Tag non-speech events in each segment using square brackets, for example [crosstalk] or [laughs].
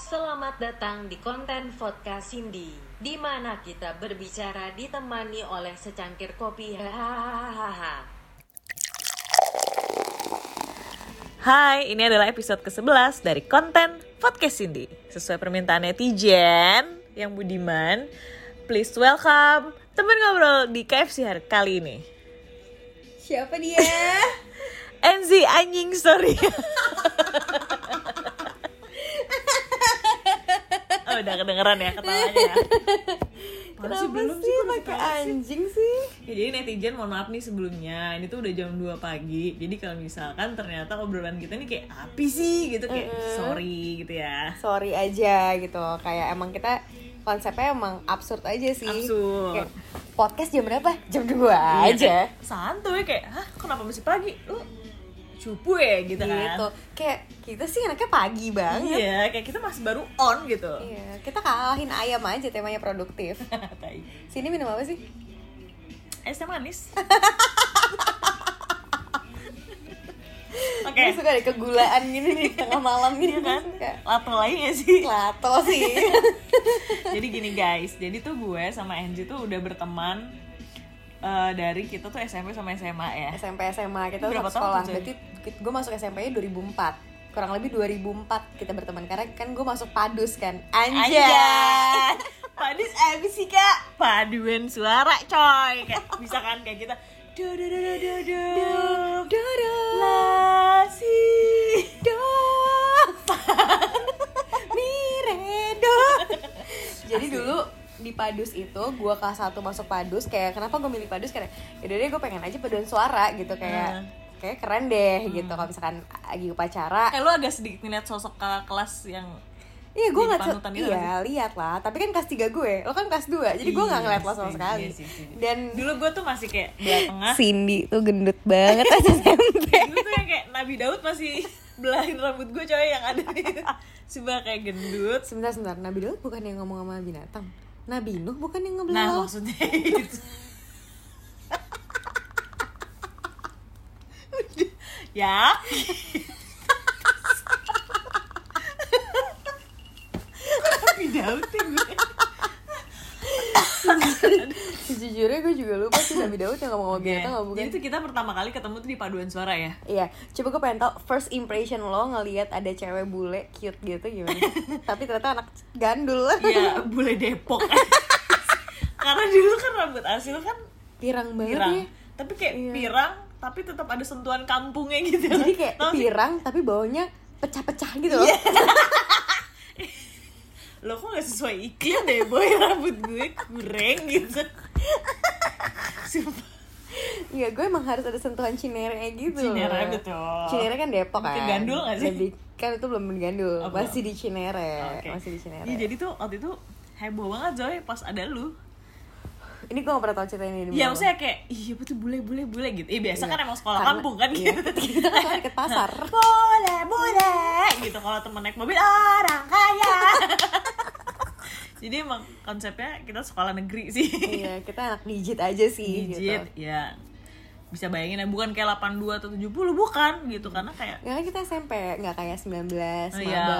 Selamat datang di konten Vodka Cindy, di mana kita berbicara ditemani oleh secangkir kopi. Hahaha. Hai, ini adalah episode ke-11 dari konten Podcast Cindy. Sesuai permintaan netizen yang budiman, please welcome teman ngobrol di KFC hari kali ini. Siapa dia? [laughs] Enzi anjing sorry. [laughs] oh, udah kedengeran ya ketawanya ya. Kenapa sih pakai anjing sih? Ya, jadi netizen mohon maaf nih sebelumnya Ini tuh udah jam 2 pagi Jadi kalau misalkan ternyata obrolan kita nih kayak api sih gitu Kayak sorry gitu ya Sorry aja gitu, kayak emang kita konsepnya emang absurd aja sih. Absurd. Kayak, podcast jam berapa? Jam 2 aja. Iya, kayak Santuy kayak Hah kenapa masih pagi? Lu cupu ya gitu kan Gitu. Kayak kita sih anaknya pagi banget. Iya kayak kita masih baru on gitu [laughs] Iya, kita kalahin ayam aja temanya produktif. Tai. Sini minum apa sih? Es teh [laughs] manis Gue Oke suka deh kegulaan gini di tengah malam Eh. gini Iya kan? gue suka. Lato lain ya sih Lato sih. jadi gini guys jadi tuh gue sama Angie tuh udah berteman eh, dari kita tuh SMP sama SMA ya SMP SMA kita Berapa satu tahun sekolah. tuh, Jen? Berarti gue masuk SMP nya 2004. Kurang lebih 2004 kita berteman karena kan gue masuk Padus kan. Anjay. Eh, Anjay Padis apa sih kak paduan suara coy kayak bisa kan kayak kita do do do do do do Do, do, la si do. Mi, re, do. [laughs] Jadi dulu di Padus itu gue kelas 1 masuk Padus kayak kenapa gue milih Padus karena yaudah deh gue pengen aja paduan suara gitu Hmm. kayak kayak keren deh gitu kalau misalkan lagi upacara eh lu agak sedikit ngeliat sosok kakak kelas yang Iya gue Di nggak tuh panutan itu nggak iya lihat lah tapi kan kelas 3 gue lo kan kelas 2 jadi gue nggak Iya ngeliat lo sama sih, sekali iya sih, sih. dan dulu gue tuh masih kayak belah tengah Cindy tuh gendut banget SMP dulu tuh yang kayak Nabi Daud masih belahin rambut gue coy yang ada di sebelah kayak gendut [laughs] sebentar sebentar Nabi Daud bukan yang ngomong sama binatang Nabi Nuh bukan yang ngebelah nah [laughs] laut. [laughs] maksudnya itu ya Oh, Nabi gitu. Daud ya gue sejujurnya gue juga lupa sih Nabi Daud yang ngomong Iya. sama binatang nggak Oh, bukan Jadi tuh kita pertama kali ketemu tuh di paduan suara ya Iya, coba gue pengen tau first impression lo ngelihat ada cewek bule cute gitu [laughs] gimana? Tapi ternyata anak gandul. Iya, [laughs] bule Depok Karena dulu kan rambut asil kan Pirang banget ya. pirang Tapi kayak pirang, tapi tetap ada sentuhan kampungnya gitu Iya. Jadi kayak Tau sih? Iya. pirang tapi baunya pecah-pecah gitu loh. Lo kok gak sesuai iklim deh boy Rambut gue kurang gitu Sumpah Iya, gue emang harus ada sentuhan cinere gitu. Cinere, loh. betul. Cinere kan Depok kan. Itu Oh. gandul nggak sih? Jadi, kan itu belum digandul, Oh, belum. masih di Cinere, Oke. masih di Cinere. Iya, jadi tuh waktu itu heboh banget Joy pas ada lu Ini gue gak pernah tau cerita ini di Ya mana. maksudnya kayak, iya betul bule bule bule gitu Iya biasa Iya. kan emang sekolah Karena- kampung kan [laughs] iya. gitu Kita kan lari ke pasar. [laughs] Bule bule gitu kalau temen naik mobil orang kaya [laughs] Jadi emang konsepnya kita sekolah negeri sih iya, kita anak digit aja [laughs] sih Digit, gitu. ya bisa bayangin ya bukan kayak 82 atau 70 bukan gitu karena kayak Nggak kan kita SMP, nggak kayak Oh 19, oh, iya, oh iya, nggak,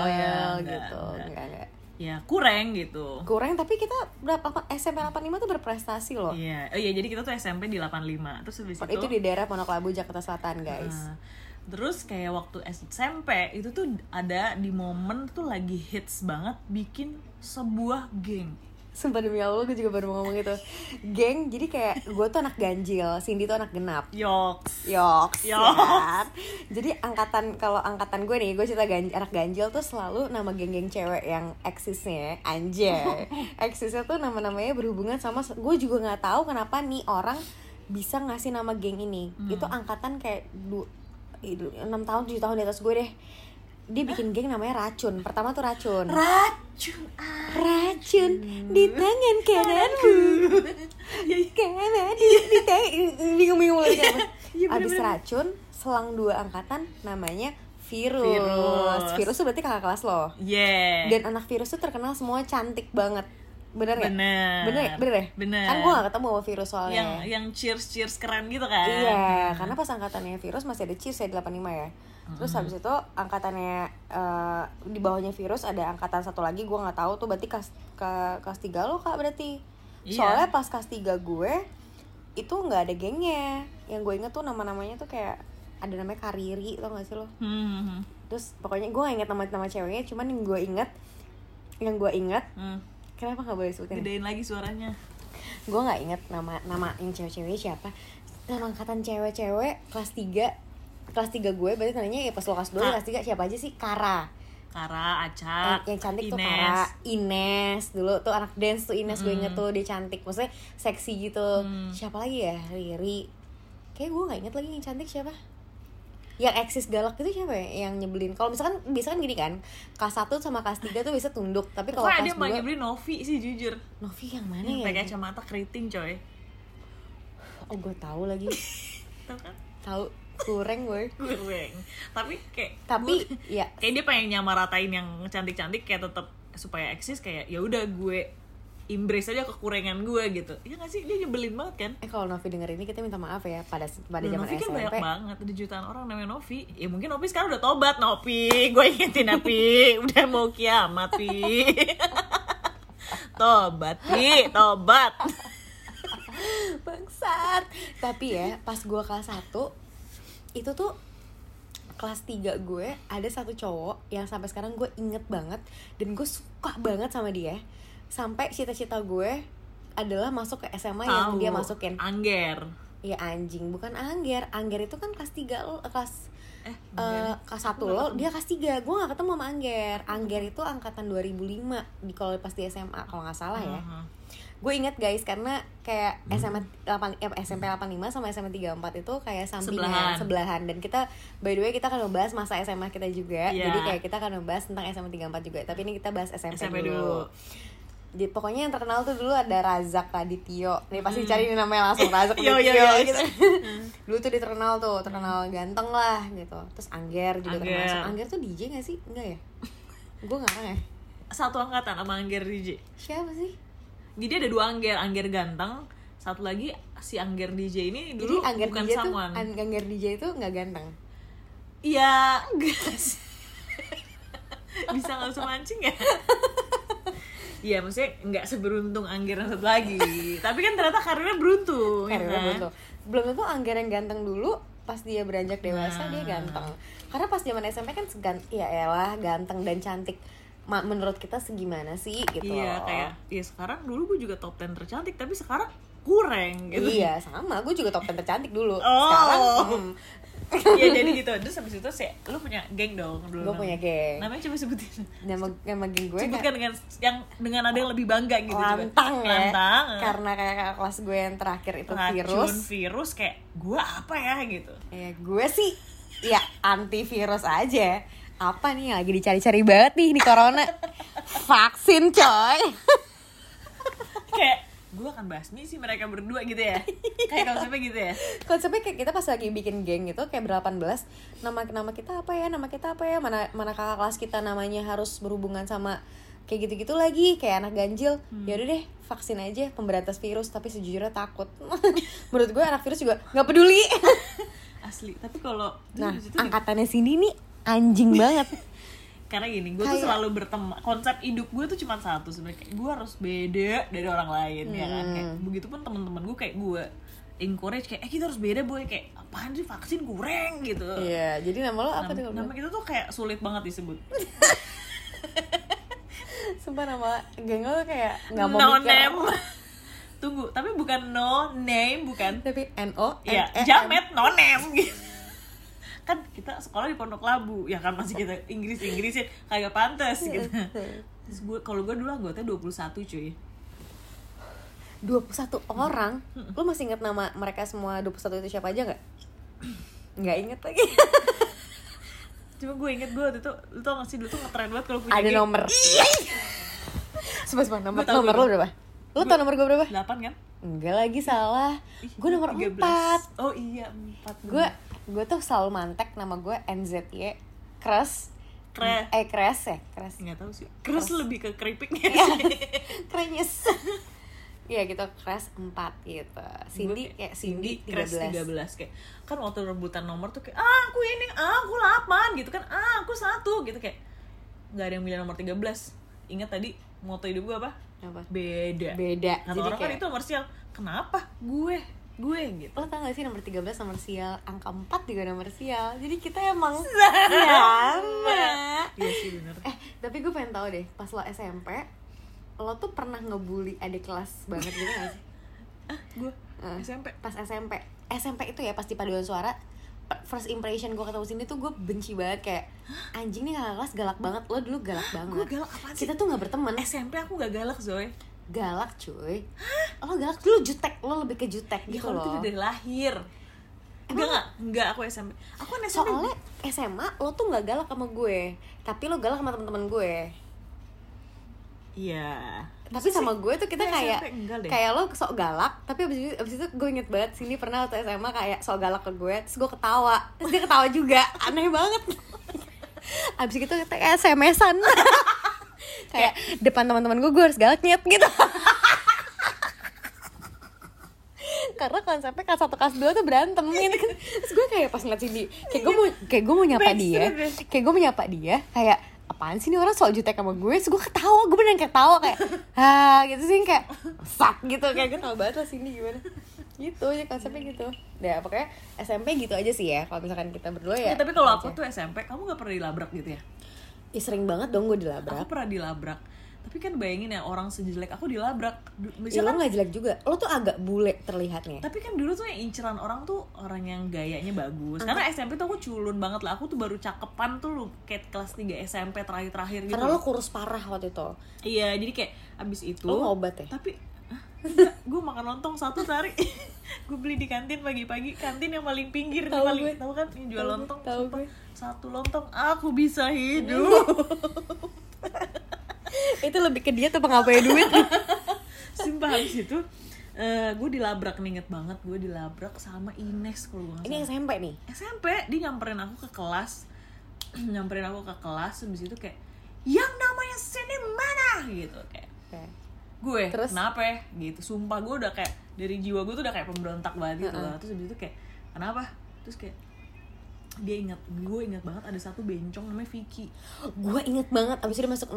gitu. nggak. Nggak, nggak. ya kurang gitu. Kurang tapi kita berapa SMP 85 tuh berprestasi loh. Iya, oh iya jadi kita tuh SMP di 85. Terus habis itu, Itu di daerah Pondok Labu Jakarta Selatan, guys. Nah, terus kayak waktu SMP itu tuh ada di momen tuh lagi hits banget bikin sebuah geng. Sumpah demi Allah gue juga baru mau ngomong itu Geng, jadi kayak gue tuh anak ganjil, Cindy tuh anak genap Yoks. Yoks, ya Yoks. kan? Jadi angkatan, kalau angkatan gue nih, gue cerita ganj- anak ganjil tuh selalu nama geng-geng cewek yang eksisnya Anjay Eksisnya tuh nama-namanya berhubungan sama, gue juga gak tahu kenapa nih orang bisa ngasih nama geng ini Itu angkatan kayak du- i- du- enam tahun, 7 tahun di atas gue deh dia bikin geng namanya racun pertama tuh racun Racun ah. racun di tangan kananku Kanan di di tangan bingung-bingung lagi apa. Abis racun selang dua angkatan namanya virus. Virus. Iya. Virus, tuh berarti kakak kelas lo. Yeah. Dan anak virus tuh terkenal semua cantik banget. Bener ya? Bener. Bener ya? Bener ya? Bener. Kan gue gak ketemu sama virus soalnya. yang yang cheers cheers keren gitu kan. Iya, karena pas angkatannya virus masih ada cheers ya 85 ya. terus habis itu angkatannya eh, di bawahnya virus ada angkatan satu lagi gue nggak tahu tuh berarti kelas ke kelas tiga lo kak berarti Iya. soalnya pas kelas tiga gue itu nggak ada gengnya yang gue inget tuh nama-namanya tuh kayak ada namanya Kariri tau gak sih lo Hmm, terus pokoknya gue gak inget nama-nama ceweknya cuman yang gue inget yang gue inget hmm. kenapa nggak boleh sebutin Gedein lagi suaranya. gue nggak inget nama nama yang cewek-cewek siapa nama angkatan cewek-cewek kelas 3 kelas 3 gue berarti tadinya ya pas lo kelas 2 Kak. kelas 3 siapa aja sih Kara Kara, Aca, yang, yang cantik tuh Ines. Kara Ines dulu tuh anak dance tuh Ines gue inget Mm. tuh dia cantik maksudnya seksi gitu Mm. siapa lagi ya Riri kayak gue nggak inget lagi yang cantik siapa yang eksis galak itu siapa ya yang nyebelin kalau misalkan biasanya kan gini kan kelas 1 sama kelas 3 tuh bisa tunduk tapi kalau Pokoknya ada yang kelas paling 2 nyebelin Novi sih jujur. Novi yang mana Ini ya pakai kacamata keriting coy. oh gue tahu [laughs] lagi Tau kan? tahu kurang gue Kurang. Tapi kayak tapi gua- [laughs] ya kayak dia pengen nyamaratain yang cantik-cantik kayak tetap supaya eksis kayak ya udah gue embrace aja kekurangan gue gitu. Iya gak sih? Dia nyebelin banget kan? eh kalau Novi denger ini kita minta maaf ya pada pada Loh, zaman Novi kan SMP banyak banget, ada jutaan orang namanya Novi Ya mungkin Novi sekarang udah tobat, Novi [laughs] Gue ingetin, Novi [laughs] Udah mau kiamat, Pi [laughs] Tobat, Pi, tobat bangsat tapi ya pas gue kelas 1 itu tuh kelas 3 gue ada satu cowok yang sampai sekarang gue inget banget dan gue suka banget sama dia sampai cita-cita gue adalah masuk ke SMA yang Tahu, dia masukin Angger ya anjing bukan angger angger itu kan kelas 3 lo kelas Eh, eh Angger. kelas 1 lo dia kelas 3 gue gak ketemu sama angger Hmm. angger itu angkatan 2005 di kalau pas di SMA kalau nggak salah ya Aha. gue inget guys karena kayak Hmm. SMA 8, eh, SMP 85 sama SMA 34 itu kayak sampingan Sebelahan. sebelahan. dan kita by the way kita akan membahas masa SMA kita juga Iya. jadi kayak kita akan membahas tentang SMA 34 juga tapi ini kita bahas SMP, SMP dulu. dulu. Jadi pokoknya yang terkenal tuh dulu ada Razak Radityo nih pasti cari nih namanya langsung Razak Hmm. [laughs] [laughs] Yo, Radityo yo, yo. gitu dulu tuh dia terkenal tuh terkenal ganteng lah gitu terus Angger juga Angger. terkenal Angger tuh DJ gak sih enggak ya gue ngarang ya Satu angkatan sama Angger DJ siapa sih Jadi ada dua Angger, Angger ganteng Satu lagi si Angger DJ ini dulu Jadi Angger bukan DJ tuh someone Ang- Angger DJ itu nggak ganteng. Iya, enggak sih. [laughs] Bisa nggak usah mancing ya? Iya, maksudnya nggak seberuntung Angger yang satu lagi. Tapi kan ternyata karirnya beruntung. ya Karirnya kan? belum tuh. Belum tentu Angger yang ganteng dulu pas dia beranjak Nah. dewasa dia ganteng. Karena pas zaman SMP kan segan ya elah ganteng dan cantik. Ma- menurut kita segimana sih gitu. Iya, loh. kayak ya sekarang dulu gue juga top 10 tercantik, tapi sekarang kurang gitu. Iya, sama. Gue juga top 10 tercantik dulu. Oh. Sekarang hmm, [laughs] Iya, jadi gitu. Terus habis itu sih lu punya geng dong dulu. gue punya namanya. geng. Namanya coba sebutin. Nama nama geng gue kayak- Sebutkan dengan yang dengan ada yang lebih bangga gitu coba. lantang ya Lantang. eh. karena kayak kakak kelas gue yang terakhir itu Racun, virus virus kayak gua apa ya gitu. Ya gue sih ya antivirus aja. Apa nih yang lagi dicari-cari banget nih di [laughs] corona? Vaksin coy. kayak gue akan basmi sih mereka berdua gitu ya kayak konsepnya gitu ya Konsepnya kayak kita pas lagi bikin geng gitu kayak ber-18 nama nama kita apa ya? Nama kita apa ya? Mana mana kakak kelas kita namanya harus berhubungan sama kayak gitu-gitu lagi kayak anak ganjil Hmm. ya udah deh vaksin aja pemberantas virus tapi sejujurnya takut [laughs] menurut gue anak virus juga nggak peduli [laughs] asli tapi kalau terus nah habis itu angkatannya sini nih anjing banget karena gini gue tuh Kayak- selalu berteman konsep hidup gue tuh cuma satu sebenarnya gue harus beda dari orang lain ya kan Hmm. kayak begitupun teman-teman gue kayak gue encourage kayak eh kita harus beda boy kayak apaan sih vaksin kurang gitu [laughs] iya jadi nama lo Nama, apa tuh kalau nama kita tuh kayak sulit banget disebut Sumpah nama geng lo kayak nggak mau no mikir. name [laughs] tunggu tapi bukan no name bukan Tapi N O N ya E M. jamet nonem [laughs] gitu kan kita sekolah di Pondok Labu ya kan masih kita Inggris Inggrisin kagak pantas Iya, gitu terus gue kalau gue dulu anggota 21 cuy 21 orang. Lo masih inget nama mereka semua 21 itu siapa aja [clears throat] nggak? Nggak inget lagi. cuma gue inget gue waktu itu lu tau gak sih dulu tuh ngetren banget kalau punya Ada geng. [laughs] nomor. Iya. Sumpah sumpah nomor Gua tahu nomor lo dulu. berapa? Lo tau nomor gue berapa? 8 kan Enggak lagi salah. Ih, Gue nomor 13. 4 oh iya 4 Gue gue tuh selalu mantek nama gue NZY Crush keren eh Crush ya Crush [laughs] nggak tahu sih terus lebih ke keripiknya Iya. Krenyes [laughs] Iya gitu, crash 4 gitu. Cindy Gue kayak Cindy, crash 13. 13 kayak kan waktu rebutan nomor tuh kayak ah aku ini ah aku 8 gitu kan ah aku satu gitu kayak nggak ada yang milih nomor 13 ingat tadi moto hidup gue apa Apa? beda Beda. kata Jadi orang kan kayak itu nomor sial kenapa gue gue gitu lo tau gak sih nomor 13 nomor sial, angka 4 juga nomor sial. Jadi kita emang sama. iya sih [laughs] bener Eh, tapi gue pengen tahu deh, pas lo SMP, lo tuh pernah ngebully adik kelas banget gitu gak [laughs] sih? ah gue Eh. SMP Pas SMP. SMP itu ya pas di paduan suara per- first impression gue ketemu sini tuh gue benci banget kayak anjing nih kakak kelas galak banget lo dulu galak banget gue galak apa sih kita tuh nggak berteman SMP aku gak galak Zoe galak cuy lo galak dulu jutek lo lebih ke jutek ya gitu kalau itu loh dari lahir enggak enggak enggak aku SMP aku kan SMP soalnya SMA lo tuh nggak galak sama gue tapi lo galak sama teman-teman gue iya tapi sama gue tuh kita Gue kayak SMP enggak deh. kayak lo sok galak tapi abis itu abis itu gue inget banget sini pernah waktu SMA kayak sok galak ke gue terus gue ketawa terus dia ketawa [laughs] juga aneh banget abis itu kita kayak [laughs] SMS-an kayak depan teman-teman gue gue harus galak nyet gitu [laughs] karena konsepnya kelas satu kelas dua tuh berantem gitu kan Iya. terus gue kayak pas ngeliat Cindy kayak gue mau kayak gue mau nyapa dia Backstreet deh. kayak gue menyapa dia kayak apaan sih nih orang soal jutek sama gue terus gue ketawa gue beneran ketawa kayak [laughs] ah gitu sih kayak sak gitu kayak gue tau banget lah Cindy gimana gitu ya konsepnya gitu nah pokoknya SMP gitu aja sih ya kalau misalkan kita berdua Ya, ya tapi kalau aku aja. tuh SMP, kamu gak pernah dilabrak gitu ya? Ih, sering banget dong gue Aku dilabrak pernah dilabrak. Tapi kan bayangin ya orang sejelek aku dilabrak. Du- Ya, lo Misalkan, gak jelek juga, lo tuh agak bule terlihatnya tapi kan dulu tuh yang inceran orang tuh orang yang gayanya bagus. Karena SMP tuh aku culun banget lah. Aku tuh baru cakepan tuh lu kayak kelas 3 SMP terakhir-terakhir gitu. Karena lo kurus parah waktu itu Iya, jadi kayak abis itu. Lo ngobat ya? Tapi gue makan lontong satu sehari [laughs] gue beli di kantin pagi-pagi kantin yang paling pinggir Tahu paling gue. tahu kan yang jual Tahu gue, lontong tahu sumpah. gue. Iya. satu lontong aku bisa hidup Itu lebih ke dia tuh pengapain duit Sumpah habis itu eh gue dilabrak nih inget banget gue dilabrak sama Ines kalau gue nggak [laughs] Ini salah. SMP nih SMP dia nyamperin aku ke kelas [clears throat] nyamperin aku ke kelas habis itu kayak yang namanya sini mana gitu kayak Oke. gue Terus? kenapa ya?" gitu sumpah gue udah kayak dari jiwa gue tuh udah kayak pemberontak banget gitu lah terus habis itu kayak kenapa terus kayak dia ingat gue ingat banget ada satu bencong namanya Vicky Gue inget banget abis itu dia masuk 6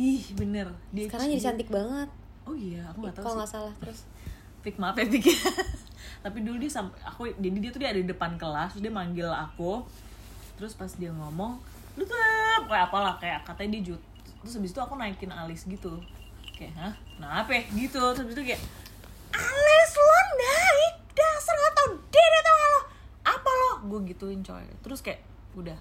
ih bener dia Sekarang jadi cantik banget oh iya aku nggak tahu Kalau sih. Iya nggak salah terus Fik maaf ya Fik [laughs] Tapi dulu dia sampai aku jadi dia tuh dia ada di depan kelas terus dia manggil aku. Terus pas dia ngomong, lu tuh kayak apalah kayak katanya dia jut. Terus habis itu aku naikin alis gitu. Kayak, "Hah? Kenapa?" ya?" gitu. Terus habis itu kayak alis lo naik dasar gak tau diri tau gak lo apa lo gue gituin coy terus kayak udah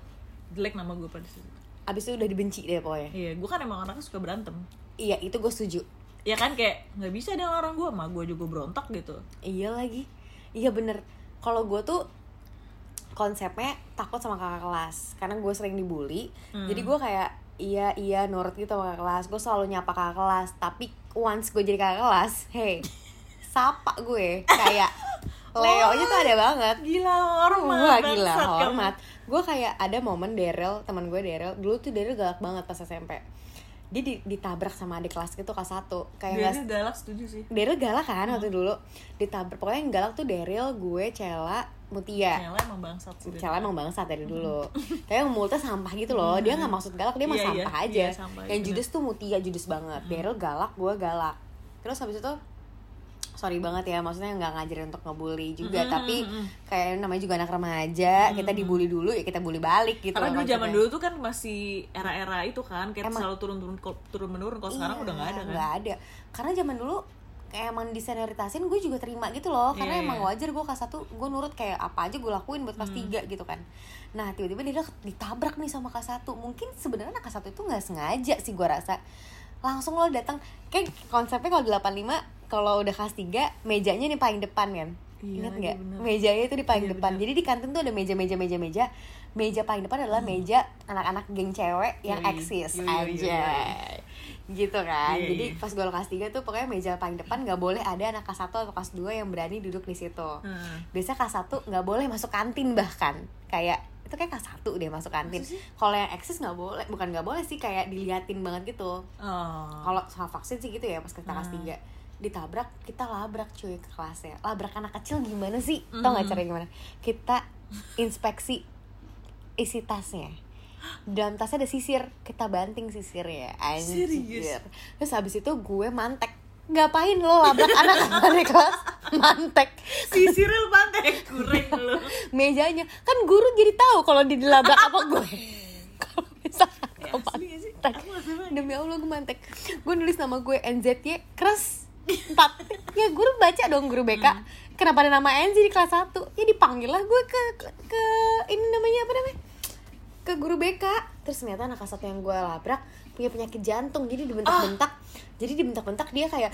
jelek nama gue pada situ Abis itu udah dibenci deh pokoknya iya gue kan emang orangnya suka berantem Iya itu gue setuju ya kan kayak nggak bisa dengan orang gue mah gue juga berontak gitu Iya lagi Iya bener Kalau gue tuh konsepnya takut sama kakak kelas Karena gue sering dibully Jadi gue kayak iya iya nurut gitu sama kakak kelas Gue selalu nyapa kakak kelas Tapi once gue jadi kakak kelas Hey Sapa gue Kayak Leo nya tuh ada banget gila hormat Wah gila bangsat kan. kamu. hormat Gue kayak ada momen Daryl Temen gue Daryl Dulu tuh Daryl galak banget pas SMP Dia di- ditabrak sama adik kelas gitu kelas 1 Kayak dia nggak- tuh galak setuju sih Daryl galak kan waktu Hmm. dulu ditabrak pokoknya yang galak tuh Daryl gue Cela Mutia Nyala emang bangsat sih dia. Cela emang bangsat dari dulu [laughs] tapi yang mulutnya sampah gitu loh dia nggak maksud galak dia mah Hmm. Iya, iya. sampah aja Iya, sampah, Hmm. yang bener. judes tuh Mutia judes banget Daryl galak gue galak terus habis itu sorry banget ya maksudnya nggak ngajarin untuk ngebully juga Mm, tapi mm, mm. kayak namanya juga anak remaja kita dibully dulu ya kita bully balik gitu Hmm, Karena loh dulu zaman konsepnya. dulu tuh kan masih era-era itu kan Kayak Emang. selalu turun-turun turun menurun Kalau sekarang Iya, udah nggak ada kan nggak ada karena zaman dulu kayak emang disenioritasin gue juga terima gitu loh karena Iya, Hmm. emang iya. wajar gue kelas satu gue nurut kayak apa aja gue lakuin buat kelas tiga gitu kan nah tiba-tiba dia ditabrak nih sama kelas satu mungkin sebenarnya anak kelas satu itu nggak sengaja sih gue rasa langsung lo datang kayak konsepnya kalau di 85 kalau udah kelas 3 mejanya nih paling depan kan Iya Ingat lagi, nggak? bener. Iya, Mejanya itu di paling depan. Jadi di kantin tuh ada meja-meja meja-meja. Meja paling depan adalah Hmm. meja anak-anak geng cewek yang Yoi. eksis Yoi, yoi, aja. Gitu kan. Iya, Jadi iya. pas gue kelas 3 tuh pokoknya meja paling depan nggak boleh ada anak kelas 1 atau kelas 2 yang berani duduk di situ. Hmm. Biasanya kelas 1 nggak boleh masuk kantin bahkan. Kayak itu kayak kelas 1 deh masuk kantin. Masa sih? Kalau yang eksis nggak boleh, bukan nggak boleh sih kayak diliatin banget gitu Oh. kalau sama vaksin sih gitu ya pas kita kelas Hmm. tiga ditabrak kita labrak cuy ke kelasnya labrak anak kecil gimana sih Hmm. tau nggak cara gimana kita inspeksi isi tasnya dalam tasnya ada sisir kita banting sisirnya anjir Serius? terus habis itu gue mantek ngapain lo labrak [laughs] anak anak kelas mantek Sisirnya lu pantai Eh, kurang [laughs] lu. mejanya kan guru jadi tahu kalau dia dilabrak apa gue kalau misalkan Ya, gue asli gak sih? mantek Aku gak pernah. demi allah gue mantek gue nulis nama gue NZY keras empat ya guru baca dong guru BK kenapa ada nama NZ di kelas 1 ya dipanggil lah gue ke, ke ke ini namanya apa namanya ke guru BK terus ternyata anak kelas satu yang gue labrak punya penyakit jantung jadi dibentak-bentak jadi dibentak-bentak dia kayak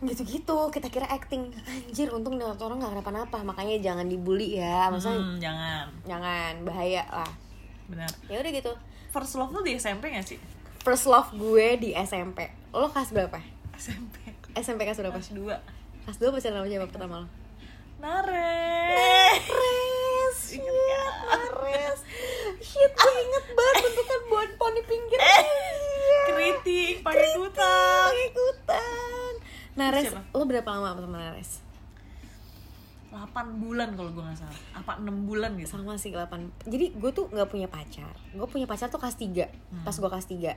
gitu-gitu kita kira acting anjir untung nih orang nggak kenapa-napa makanya jangan dibully ya maksudnya Hmm, jangan. jangan bahaya lah Benar. ya udah gitu First love lu di SMP gak sih? first love gue di SMP lo kelas berapa SMP. SMP kelas berapa Kelas 2. kelas dua pacaran sama siapa pertama lo Nares. Nares Ingat nggak? Eh, Nares shit gue inget banget bentukan bonpon di pinggir Iya. Kritik pakai kutang. ikutan Nares Siapa? lo berapa lama sama Nares 8 bulan kalau gue gak salah. Apa 6 bulan gitu? sama sih 8 jadi gue tuh nggak punya pacar gue punya pacar tuh kelas 3 pas gue kelas 3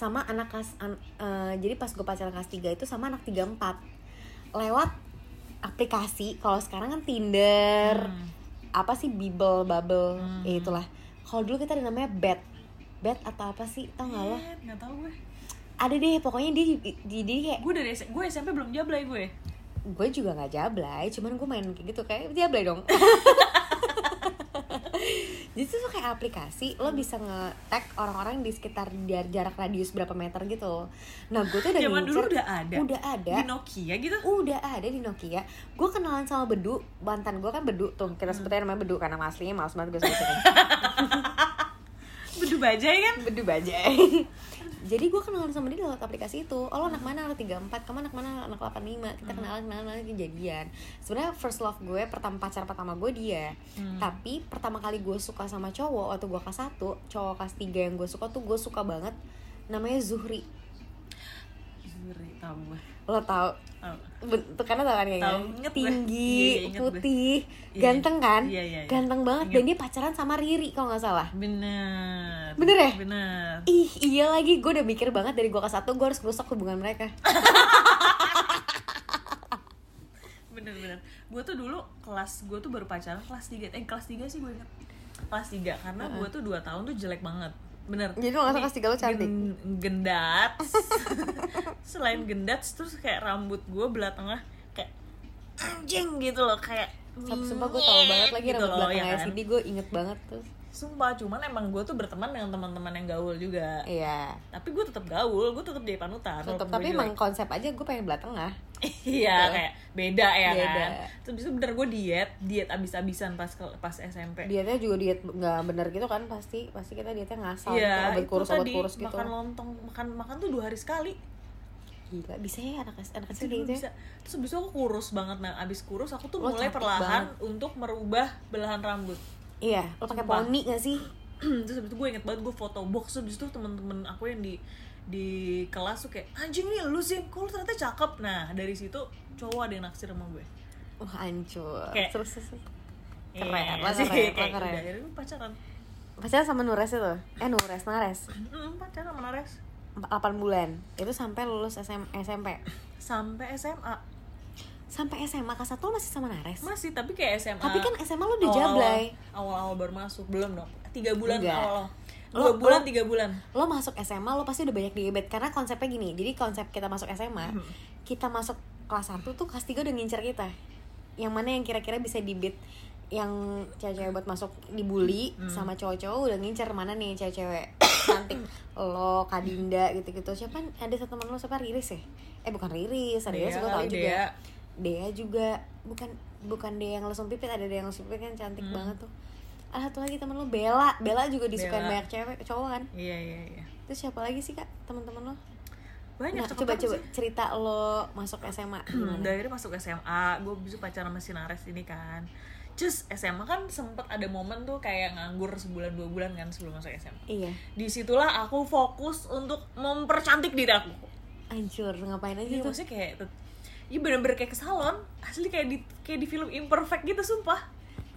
sama anak kelas an- eh, jadi pas gue pacaran kelas 3 itu sama anak 34 lewat aplikasi kalau sekarang kan Tinder Hmm. apa sih Bibble Bubble Hmm. ya itulah kalau dulu kita ada namanya Bet Bet atau apa sih tau gak lo Eh, Nggak tahu gue. ada deh pokoknya dia di, di- dia kayak Gue dari S- gue SMP belum jablay gue. gue juga nggak jablay cuman gue main kayak gitu kayak jablay dong [laughs] jadi itu tuh kayak aplikasi lo Hmm. bisa nge-tag orang-orang di sekitar jar- jarak radius berapa meter gitu nah gue tuh udah Zaman dulu ngincer- udah ada. udah ada Di Nokia gitu. udah ada di Nokia gue kenalan sama Bedu mantan gue kan Bedu tuh kita Hmm. sebutnya namanya Bedu karena nama aslinya males banget gue sebutin Bedu bajai kan? Bedu bajai [laughs] Jadi gue kenalan sama dia lewat aplikasi itu Oh lo anak mana? Anak 34 Kamu anak mana? Anak 85 Hmm. Kita kenalan, kenalan, kenalan kejadian sebenarnya first love gue pertama pacar pertama gue dia Hmm. Tapi pertama kali gue suka sama cowok Waktu gue kelas 1 Cowok kelas 3 yang gue suka tuh gue suka banget Namanya Zuhri Juri, tahu gue. Oh, Lo tau Tahu. bentukannya tau kan kayaknya Tau, inget gue. Tinggi, Iya, iya, inget gue. putih Iya, Ganteng kan? iya, iya, iya. Ganteng banget Dan dia pacaran sama Riri kalau gak salah Bener. Bener ya? Bener. Ih iya lagi gue udah mikir banget dari gue ke satu gue harus rusak hubungan mereka Bener bener. Gue tuh dulu kelas gue tuh baru pacaran kelas 3 eh kelas 3 sih gue inget. Kelas 3 karena gue tuh 2 tahun tuh jelek banget. Bener. Jadi lu ngerasa Ini kelas tiga lu cantik? gen- gendat. [laughs] Selain gendat terus kayak rambut gue belah tengah kayak anjing gitu loh kayak Sumpah, sumpah gue tau banget lagi gitu rambut loh, belakang ya kan? LCD gue inget banget tuh Sumpah, cuman emang gue tuh berteman dengan teman-teman yang gaul juga. Iya Tapi gue tetap gaul, gue tetap jadi panutan. Tetep, walaupun tapi gue emang konsep aja gue pengen belah tengah [laughs] iya Gitu. kayak beda ya Beda. kan terus abis itu bener gue diet diet abis-abisan pas ke- pas SMP Dietnya juga diet nggak bener gitu kan pasti Pasti kita dietnya ngasal iya gitu, obat itu kurus, obat tadi kurus gitu makan lontong makan makan tuh dua hari sekali Gila, bisa ya anak, anak Itu kecil dulu kayak gitu ya bisa terus abis itu aku kurus banget nah abis kurus aku tuh Lo mulai cantik perlahan untuk merubah belahan rambut [clears throat] Iya, lo pakai Sumpah. poni gak sih? terus abis itu gue inget banget gue foto box terus abis itu temen-temen aku yang di di kelas tuh kayak anjing nih lu sih kok lu ternyata cakep nah dari situ cowok ada yang naksir sama gue Wah hancur Kayak- Terus, terus, terus. Keren, Iya, lo sih, keren, lo kayak keren. udah, akhirnya gue pacaran Pacaran sama Nures itu? Eh Nures, Nares Mm, pacaran sama Nares 8 bulan Itu sampai lulus SM, SMP sampai SMA Sampai SMA, kelas 1 masih sama Nares? masih tapi kayak SMA Tapi kan SMA lo udah awal-awal- jablay awal-awal baru masuk belum dong tiga bulan Enggak. Oh, awal Lo- dua bulan lo- tiga bulan lo masuk SMA lo pasti udah banyak diebet karena konsepnya gini jadi konsep kita masuk SMA Hmm. kita masuk kelas 1 tuh kelas 3 udah ngincer kita yang mana yang kira-kira bisa dibet yang cewek-cewek buat masuk dibully Hmm. sama cowok-cowok udah ngincer mana nih cewek-cewek cantik lo Kadinda gitu-gitu siapa ada satu teman lo siapa Riris ya eh bukan Riris ada Riris Dea gue tau Iya kali, juga Dea. Dea juga bukan bukan Dea yang lesung pipit ada Dea yang lesung pipit kan cantik Hmm. banget tuh ada satu lagi teman lo Bella Bella juga disukain Bella. banyak cewek cowok kan iya iya iya Terus siapa lagi sih kak teman-teman lo? banyak Nah, cakep coba banget coba sih. cerita lo masuk SMA Hmm, gimana? dari akhirnya masuk SMA gue bisa pacaran sama si Nares ini kan Just SMA kan sempet ada momen tuh kayak nganggur sebulan dua bulan kan sebelum masuk SMA Iya. disitulah aku fokus untuk mempercantik diri aku Hancur, ngapain aja Iya tuh? maksudnya kayak tet- Iya bener-bener kayak ke salon Asli kayak di, kayak di film imperfect gitu sumpah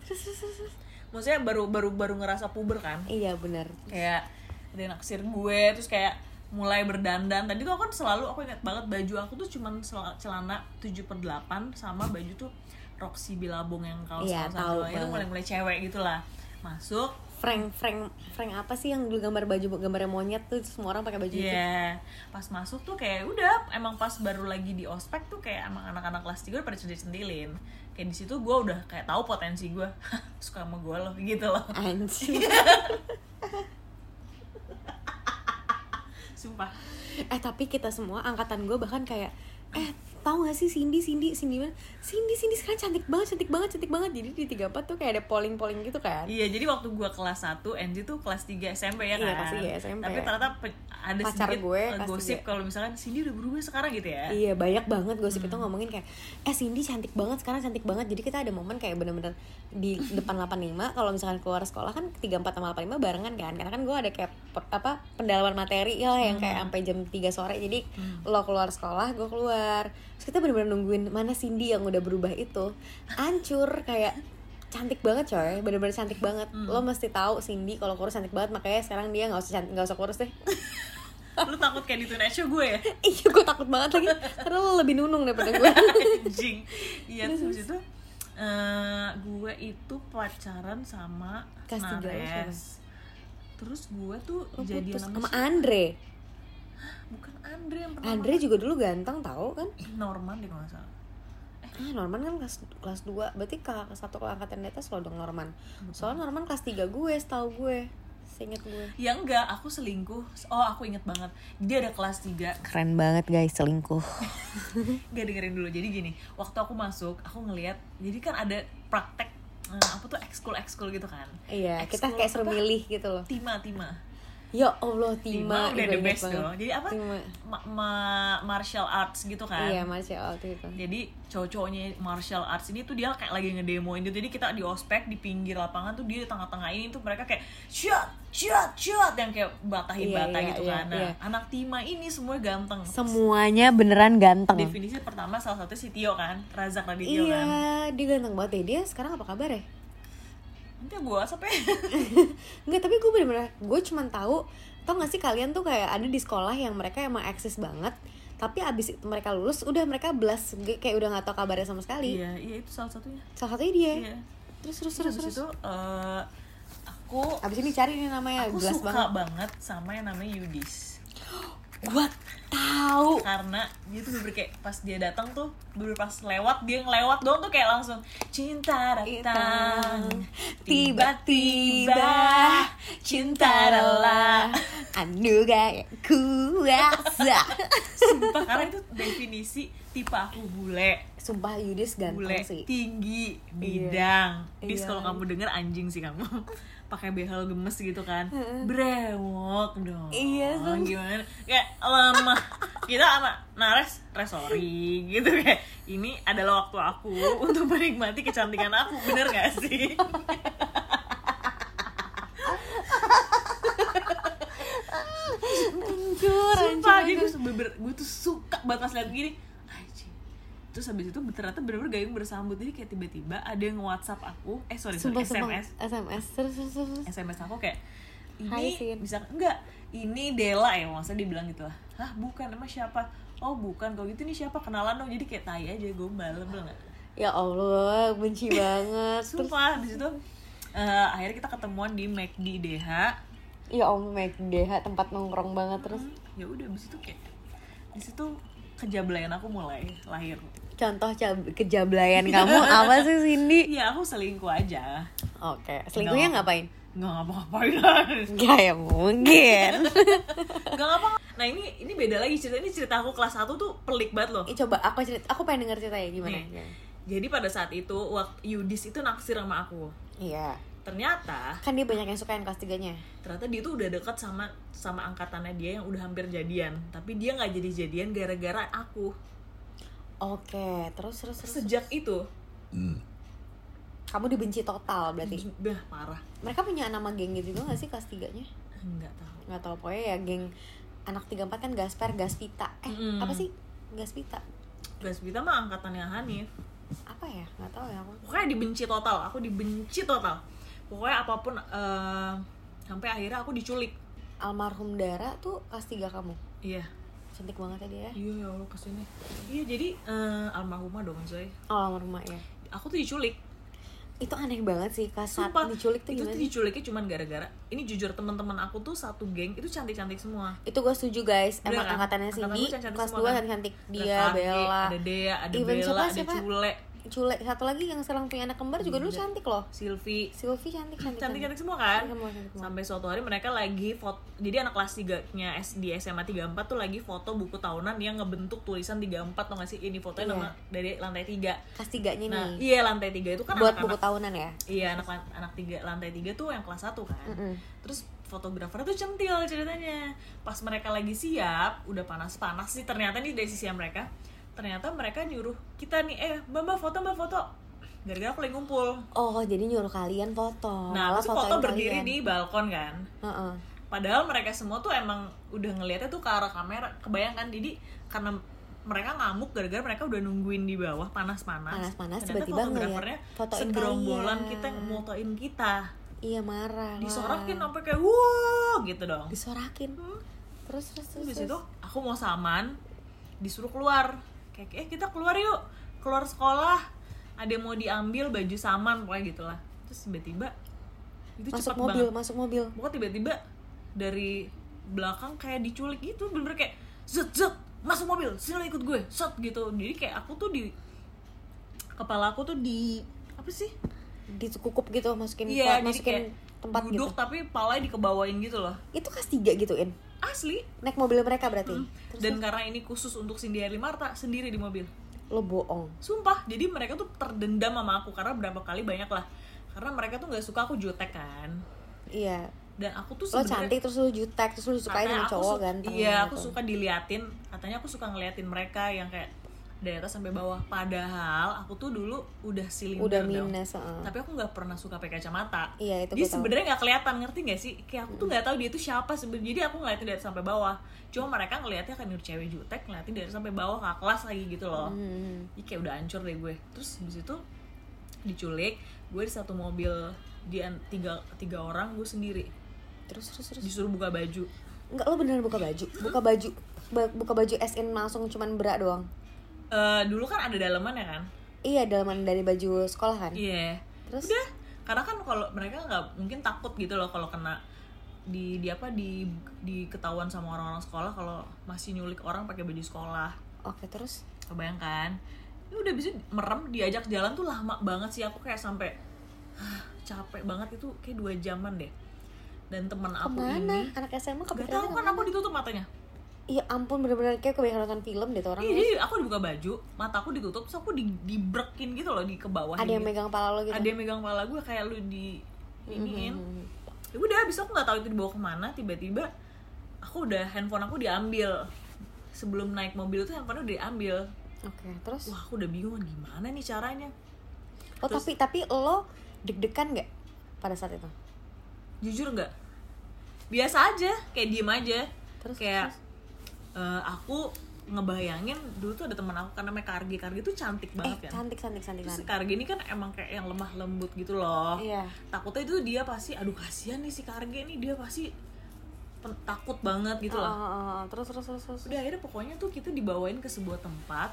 Terus, terus, terus, terus. Maksudnya baru baru baru ngerasa puber kan Iya bener Kayak ada yang naksir gue Terus kayak mulai berdandan Tadi tuh aku kan selalu aku ingat banget baju aku tuh cuman sel- celana 7 per 8 Sama baju tuh Roxy Bilabong yang kaos Iya, kaosan tahu doang. Itu banget. mulai-mulai cewek gitu lah Masuk Frank, Frank, Frank apa sih yang dulu gambar baju gambar monyet tuh semua orang pakai baju itu? Iya, pas masuk tuh kayak udah emang pas baru lagi di ospek tuh kayak emang anak-anak kelas 3 udah pada centil-centilin. Kayak di situ gue udah kayak tahu potensi gue [laughs] suka sama gue loh gitu loh. Anjir. Sumpah. [laughs] eh tapi kita semua angkatan gue bahkan kayak eh tahu gak sih Cindy Cindy Cindy mana Cindy Cindy sekarang cantik banget cantik banget cantik banget jadi di 34 tuh kayak ada polling polling gitu kan Iya, jadi waktu gue kelas 1, Angie tuh kelas 3 SMP ya kan. Iya, kelas 3 SMP. Tapi ternyata pe- ada Pacar sedikit gue eh, kelas gosip 3. kalau misalkan Cindy udah berubah sekarang gitu ya. Iya banyak banget gosip itu ngomongin kayak Eh Cindy cantik banget sekarang cantik banget Jadi kita ada momen kayak bener-bener di depan 85 Kalau misalkan keluar sekolah kan 34 sama 85 barengan kan Karena kan gue ada kayak pe- apa pendalaman materi ya lah yang kayak sampai jam 3 sore Jadi lo keluar sekolah gue keluar Terus kita bener-bener nungguin mana Cindy yang udah berubah itu Hancur kayak cantik banget coy bener-bener cantik banget lo mesti tahu Cindy kalau kurus cantik banget makanya sekarang dia [laughs] nggak usah cantik nggak usah kurus deh Lu takut kayak dituin Aisha gue [laughs] ya? iya gue takut banget lagi karena lo lebih nunung daripada gue Anjing. Iya, terus habis itu eh, gue itu pacaran sama Kelas tiga lu Nares. Terus gue tuh Lo jadi putus sama sama siapa? Andre. bukan Andre yang pertama. Andre juga dulu ganteng tau kan? Norman deh kalau nggak salah. Ah, Norman kan kelas kelas 2. Berarti kakak kelas 1 kalau angkatan di atas lo dong Norman. Soalnya Norman kelas 3 gue, setahu gue. Seinget gue. Ya enggak, aku selingkuh. Oh, aku inget banget. Dia ada kelas 3. Keren banget guys selingkuh. Gak dengerin dulu. Jadi gini, waktu aku masuk, aku ngelihat jadi kan ada praktek eh, apa tuh ekskul ekskul gitu kan. Iya, kita Ekskul kayak apa? suruh milih gitu loh. Tima, Tima. Ya Allah, Tima, Tima, udah gue the inget best banget. dong. Jadi apa? Kan. Tima. Ma- ma- martial arts gitu kan. Iya, martial art gitu. jadi cowok-cowoknya martial arts ini tuh dia kayak lagi ngedemoin gitu jadi kita di ospek di pinggir lapangan tuh dia di tengah-tengah ini tuh mereka kayak shot shot shot yang kayak batahin Iya, bata iya, gitu iya, kan nah iya. anak Tima ini semua ganteng Semuanya beneran ganteng. definisi pertama salah satu si Tio kan Razak Radityo Iya, kan dia ganteng banget deh. Dia sekarang apa kabar ya? nanti gue whatsapp ya [laughs] [laughs] Nggak, tapi gue bener-bener gue cuman tahu tau gak sih kalian tuh kayak ada di sekolah yang mereka emang eksis banget tapi abis itu mereka lulus udah mereka belas kayak udah nggak tau kabarnya sama sekali iya iya itu salah satunya salah satunya dia iya terus Eh, terus terus terus terus habis itu eh, aku abis ini cari nih namanya aku jelas banget suka banget. sama yang namanya Yudis gue tahu karena dia tuh bener kayak pas dia datang tuh bener pas lewat dia ngelewat doang tuh kayak langsung cinta datang tiba-tiba cinta rela anu gak kuasa [laughs] sumpah karena itu definisi tipe aku bule sumpah Yudis bule ganteng sih tinggi bidang Iya. bis Iya. kalau kamu denger anjing sih kamu [laughs] pakai behel gemes gitu kan brewok dong Iya, sumpah. gimana kayak lama kita sama nares resori gitu kayak ini adalah waktu aku untuk menikmati kecantikan aku bener gak sih hancur [laughs] Sumpah, jadi gue bener- gue tuh suka banget pas liat gini Anjing Terus habis itu ternyata bener-bener gayung bersambut Jadi kayak tiba-tiba ada yang whatsapp aku Eh sorry, sorry sumpah SMS sumpah SMS terus terus terus terus. SMS aku kayak Hai, ini Sin. bisa enggak ini Dela ya masa dibilang gitu lah hah bukan emang siapa oh bukan kalau gitu nih siapa kenalan dong jadi kayak tai aja gombal bener nggak Ya Allah, benci banget. Terus, sumpah di situ eh, akhirnya kita ketemuan di McD DH ya Allah, Mac DH tempat nongkrong banget terus. ya udah abis itu kayak di situ kejablayan aku mulai lahir Contoh cab- kejablayan [laughs] kamu apa sih Cindy? iya aku selingkuh aja Oke, selingkuhnya No. ngapain? nggak ngapa-ngapain [laughs] guys. Gak ya [laughs] mungkin. nggak ngapa nah ini ini beda lagi cerita ini cerita aku kelas 1 tuh pelik banget loh Ih, Eh, Coba aku cerita, aku pengen denger ceritanya gimana. Nih. jadi pada saat itu waktu Yudis itu naksir sama aku Iya. ternyata Kan dia banyak yang suka yang kelas 3-nya. ternyata dia tuh udah dekat sama sama angkatannya dia yang udah hampir jadian tapi dia nggak jadi jadian gara-gara aku Oke, terus terus terus. sejak itu Kamu dibenci total berarti. bah parah Mereka punya nama geng gitu juga gak sih kelas 3-nya? nggak tahu Gak tau pokoknya ya geng anak 34 kan Gaspar Gaspita eh Mm. apa sih Gaspita Gasbita mah angkatannya Hanif apa ya nggak tahu ya aku pokoknya dibenci total aku dibenci total pokoknya apapun eh, sampai akhirnya aku diculik almarhum Dara tuh kelas 3 kamu iya cantik banget ya dia iya ya Allah kesini iya jadi eh, almarhumah dong Zoe oh almarhumah ya aku tuh diculik itu aneh banget sih kelas saat Sumpah, diculik tuh itu gimana tuh diculiknya cuman gara-gara ini jujur teman-teman aku tuh satu geng itu cantik-cantik semua itu gue setuju guys Bener emang kan? angkatannya Angkatan Cindy gua cantik-cantik kelas semua kan? 2 kan cantik Ada dia Kage, Bella ada Dea ada Even Bella siapa- ada siapa? Cule Iya. culek satu lagi yang sekarang punya anak kembar juga dulu cantik loh Silvi Sylvie cantik cantik cantik-cantik semua kan Cantik semua, cantik semua. sampai suatu hari mereka lagi foto jadi anak kelas 3 nya S- di SMA 34 tuh lagi foto buku tahunan yang ngebentuk tulisan 34 tau gak sih ini fotonya Iya. nama dari lantai 3 kelas tiganya nah nih iya lantai 3 itu kan buat buku anak-anak tahunan ya iya anak anak tiga lantai 3 tuh yang kelas 1 kan Mm-mm. terus fotografer tuh centil ceritanya pas mereka lagi siap udah panas-panas sih ternyata nih dari sisi mereka ternyata mereka nyuruh kita nih eh mbak mbak foto mbak foto gara-gara aku lagi ngumpul oh jadi nyuruh kalian foto nah Oh, Malah terus foto fotoin berdiri kalian. di balkon kan Heeh. padahal mereka semua tuh emang udah ngelihatnya tuh ke arah kamera kebayangkan jadi karena mereka ngamuk gara-gara mereka udah nungguin di bawah panas-panas Panas-panas, Ternyata tiba-tiba ngeliat, fotografernya fotoin segerombolan kalian. Ah. kita yang motoin kita iya marah lah. disorakin sampai kayak wow gitu dong disorakin Hmm. terus terus terus terus, habis itu terus. aku mau saman disuruh keluar kayak eh kita keluar yuk keluar sekolah ada yang mau diambil baju saman pokoknya gitulah terus tiba-tiba itu masuk cepet mobil banget masuk mobil pokoknya tiba-tiba dari belakang kayak diculik gitu bener-bener kayak zut zut masuk mobil sini lo ikut gue shot gitu jadi kayak aku tuh di kepala aku tuh di apa sih dikukup gitu masukin iya ke- jadi masukin kayak tempat duduk gitu tapi palanya dikebawain gitu loh itu kelas tiga gituin asli naik mobil mereka berarti Hmm. terus dan karena ini khusus untuk Cindy Erli Marta sendiri di mobil lo bohong sumpah jadi mereka tuh terdendam sama aku karena berapa kali banyak lah karena mereka tuh nggak suka aku jutek kan iya dan aku tuh lo sebenarnya cantik terus lo jutek terus lo disukain katanya sama aku cowok su- ganteng iya aku gitu. suka diliatin katanya aku suka ngeliatin mereka yang kayak dari atas sampai bawah padahal aku tuh dulu udah silinder udah dong. minus heeh. tapi aku nggak pernah suka pakai kacamata iya itu Nah, dia gue tahu sebenarnya nggak kelihatan ngerti nggak sih kayak aku tuh nggak tahu dia tuh siapa sebenarnya jadi aku ngeliatin dari atas sampai bawah cuma mereka ngeliatnya kan ini cewek jutek ngeliatin dari atas sampai bawah nggak kelas lagi gitu loh Hmm. Ih, kayak udah hancur deh gue terus di situ diculik gue di satu mobil di an- tiga tiga orang gue sendiri terus terus terus disuruh buka baju Enggak, lo beneran buka baju buka baju ba- buka baju SN langsung cuman berak doang Eh, dulu kan ada daleman ya kan iya dalaman dari baju sekolah kan iya terus udah karena kan kalau mereka nggak mungkin takut gitu loh kalau kena di di apa di diketahuan sama orang-orang sekolah kalau masih nyulik orang pakai baju sekolah oke terus kebayangkan ini kan? Ya udah bisa merem diajak jalan tuh lama banget sih aku kayak sampai "Hah, capek banget itu kayak dua jaman deh dan teman aku ini kemana anak SMA gak kepikiran tahu kan aku ditutup matanya iya ampun bener-bener kayak kebanyakan nonton film deh tuh orang ya. iya jadi aku dibuka baju mata aku ditutup terus aku di, dibrekin gitu loh di ke bawah ada yang gitu. megang pala lo gitu ada yang megang kepala gue kayak lu di iniin Mhm. ya udah abis itu aku nggak tahu itu dibawa kemana tiba-tiba aku udah handphone aku diambil sebelum naik mobil tuh handphone udah diambil oke terus wah aku udah bingung gimana nih caranya Oh tapi tapi lo deg-degan nggak pada saat itu? jujur nggak biasa aja kayak diem aja Terus, kayak eh, aku ngebayangin dulu tuh ada teman aku kan namanya Kargi Kargi tuh cantik Eh banget kan cantik cantik cantik terus cantik. Kargi ini kan emang kayak yang lemah lembut gitu loh Iya. takutnya itu dia pasti aduh kasihan nih si Karge nih dia pasti pen- takut banget gitu Oh, lah oh, oh, oh. terus terus terus terus. udah akhirnya pokoknya tuh kita dibawain ke sebuah tempat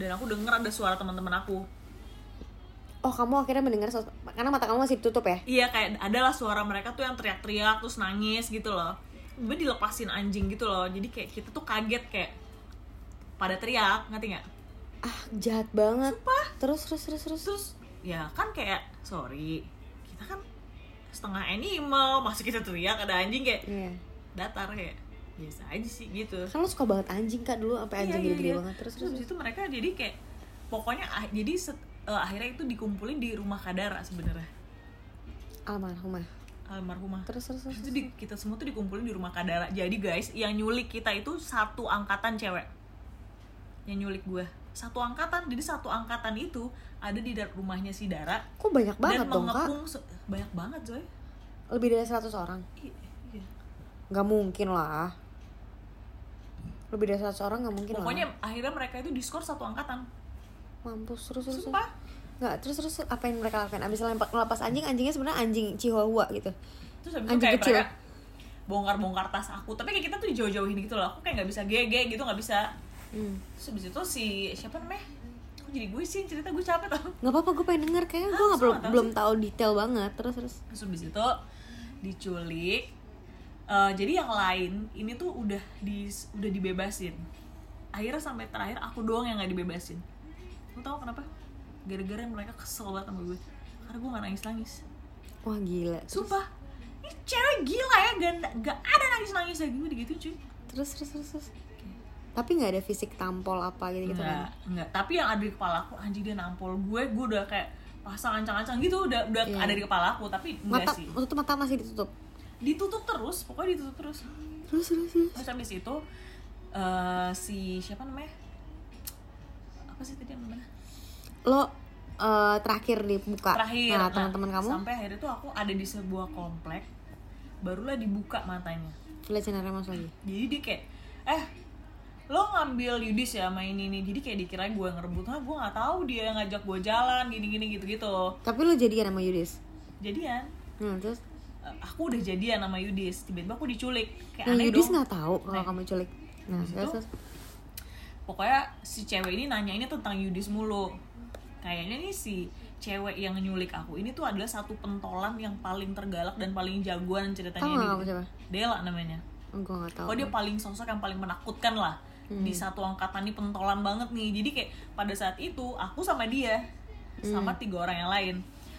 dan aku denger ada suara teman-teman aku Oh kamu akhirnya mendengar sesu- karena mata kamu masih tutup ya? iya kayak adalah suara mereka tuh yang teriak-teriak terus nangis gitu loh Tiba-tiba dilepasin anjing gitu loh jadi kayak kita tuh kaget kayak pada teriak ngerti nggak Ah jahat banget. Terus terus terus terus. terus ya kan kayak sorry kita kan setengah animal masih kita teriak ada anjing kayak Iya. datar kayak biasa aja sih gitu Kan lo suka banget anjing kak dulu sampai anjing Iya, iya, gede-gede iya. banget. Terus terus terus. habis itu mereka jadi kayak pokoknya ah- jadi set- eh, akhirnya itu dikumpulin di rumah Kadara sebenarnya Almarhumah. almarhumah Terus terus terus. Terus itu di- kita semua tuh dikumpulin di rumah Kadara jadi guys yang nyulik kita itu satu angkatan cewek yang nyulik gue satu angkatan jadi satu angkatan itu ada di dar- rumahnya si Dara Kok banyak dan banget dong kak? mengepung se- banyak banget Zoe Lebih dari 100 orang. I- iya. Gak mungkin lah. lebih dari 100 orang nggak mungkin Pokoknya lah akhirnya mereka itu diskor satu angkatan. mampus terus terus Sumpah. nggak terus terus apa yang mereka lakukan abis lempa- ngelepas anjing anjingnya sebenarnya anjing chihuahua gitu Terus habis itu Anjing kayak kecil. mereka bongkar-bongkar tas aku. Tapi kayak kita tuh jauh-jauhin gitu loh. Aku kayak nggak bisa gege gitu, nggak bisa. Hmm. Terus habis itu si siapa namanya? Kok jadi gue sih yang cerita gue capek tau. nggak apa-apa gue pengen denger kayaknya gue Ah, nggak belum sama, tahu belum sih. tahu detail banget terus terus Terus habis itu diculik. Eh, jadi yang lain ini tuh udah di udah dibebasin. Akhirnya sampai terakhir aku doang yang nggak dibebasin. Kamu tau kenapa? Gara-gara mereka kesel banget sama gue. Karena gue nggak nangis-nangis. wah gila terus Sumpah, ini cewek gila ya, gak, gak ada nangis-nangis lagi gue digituin cuy terus terus terus, terus. tapi nggak ada fisik tampol apa gitu gitu Enggak, kan enggak, tapi yang ada di kepala aku, anjing dia nampol gue, gue udah kayak pasang ancang-ancang gitu, udah udah Iya. ada di kepala aku, tapi enggak mata sih tutup mata masih ditutup Ditutup terus, pokoknya ditutup terus terus terus terus Terus habis itu, eh, si siapa namanya? Apa sih tadi namanya? lo eh, terakhir dibuka Terakhir, Ah. nah teman-teman kamu Sampai akhirnya tuh aku ada di sebuah komplek, barulah dibuka matanya village Cendera Mas lagi jadi dia kayak eh lo ngambil Yudis ya sama ini ini jadi kayak dikira gue ngerebut ah gue nggak tahu dia yang ngajak gue jalan gini gini gitu gitu tapi lo jadian sama Yudis jadian hmm, terus Eh, aku udah jadian sama Yudis tiba-tiba aku diculik kayak nah Ya, aneh Yudis dong nggak tahu kalau Aneh. kamu culik nah Habis terus, itu, terus. pokoknya si cewek ini nanyainnya tentang Yudis mulu kayaknya nih si cewek yang nyulik aku ini tuh adalah satu pentolan yang paling tergalak dan paling jagoan ceritanya Tahu ini. nggak kamu siapa? Dela namanya gue nggak tahu Oh dia paling sosok yang paling menakutkan lah di satu angkatan ini pentolan banget nih. Jadi kayak pada saat itu aku sama dia sama tiga orang yang lain.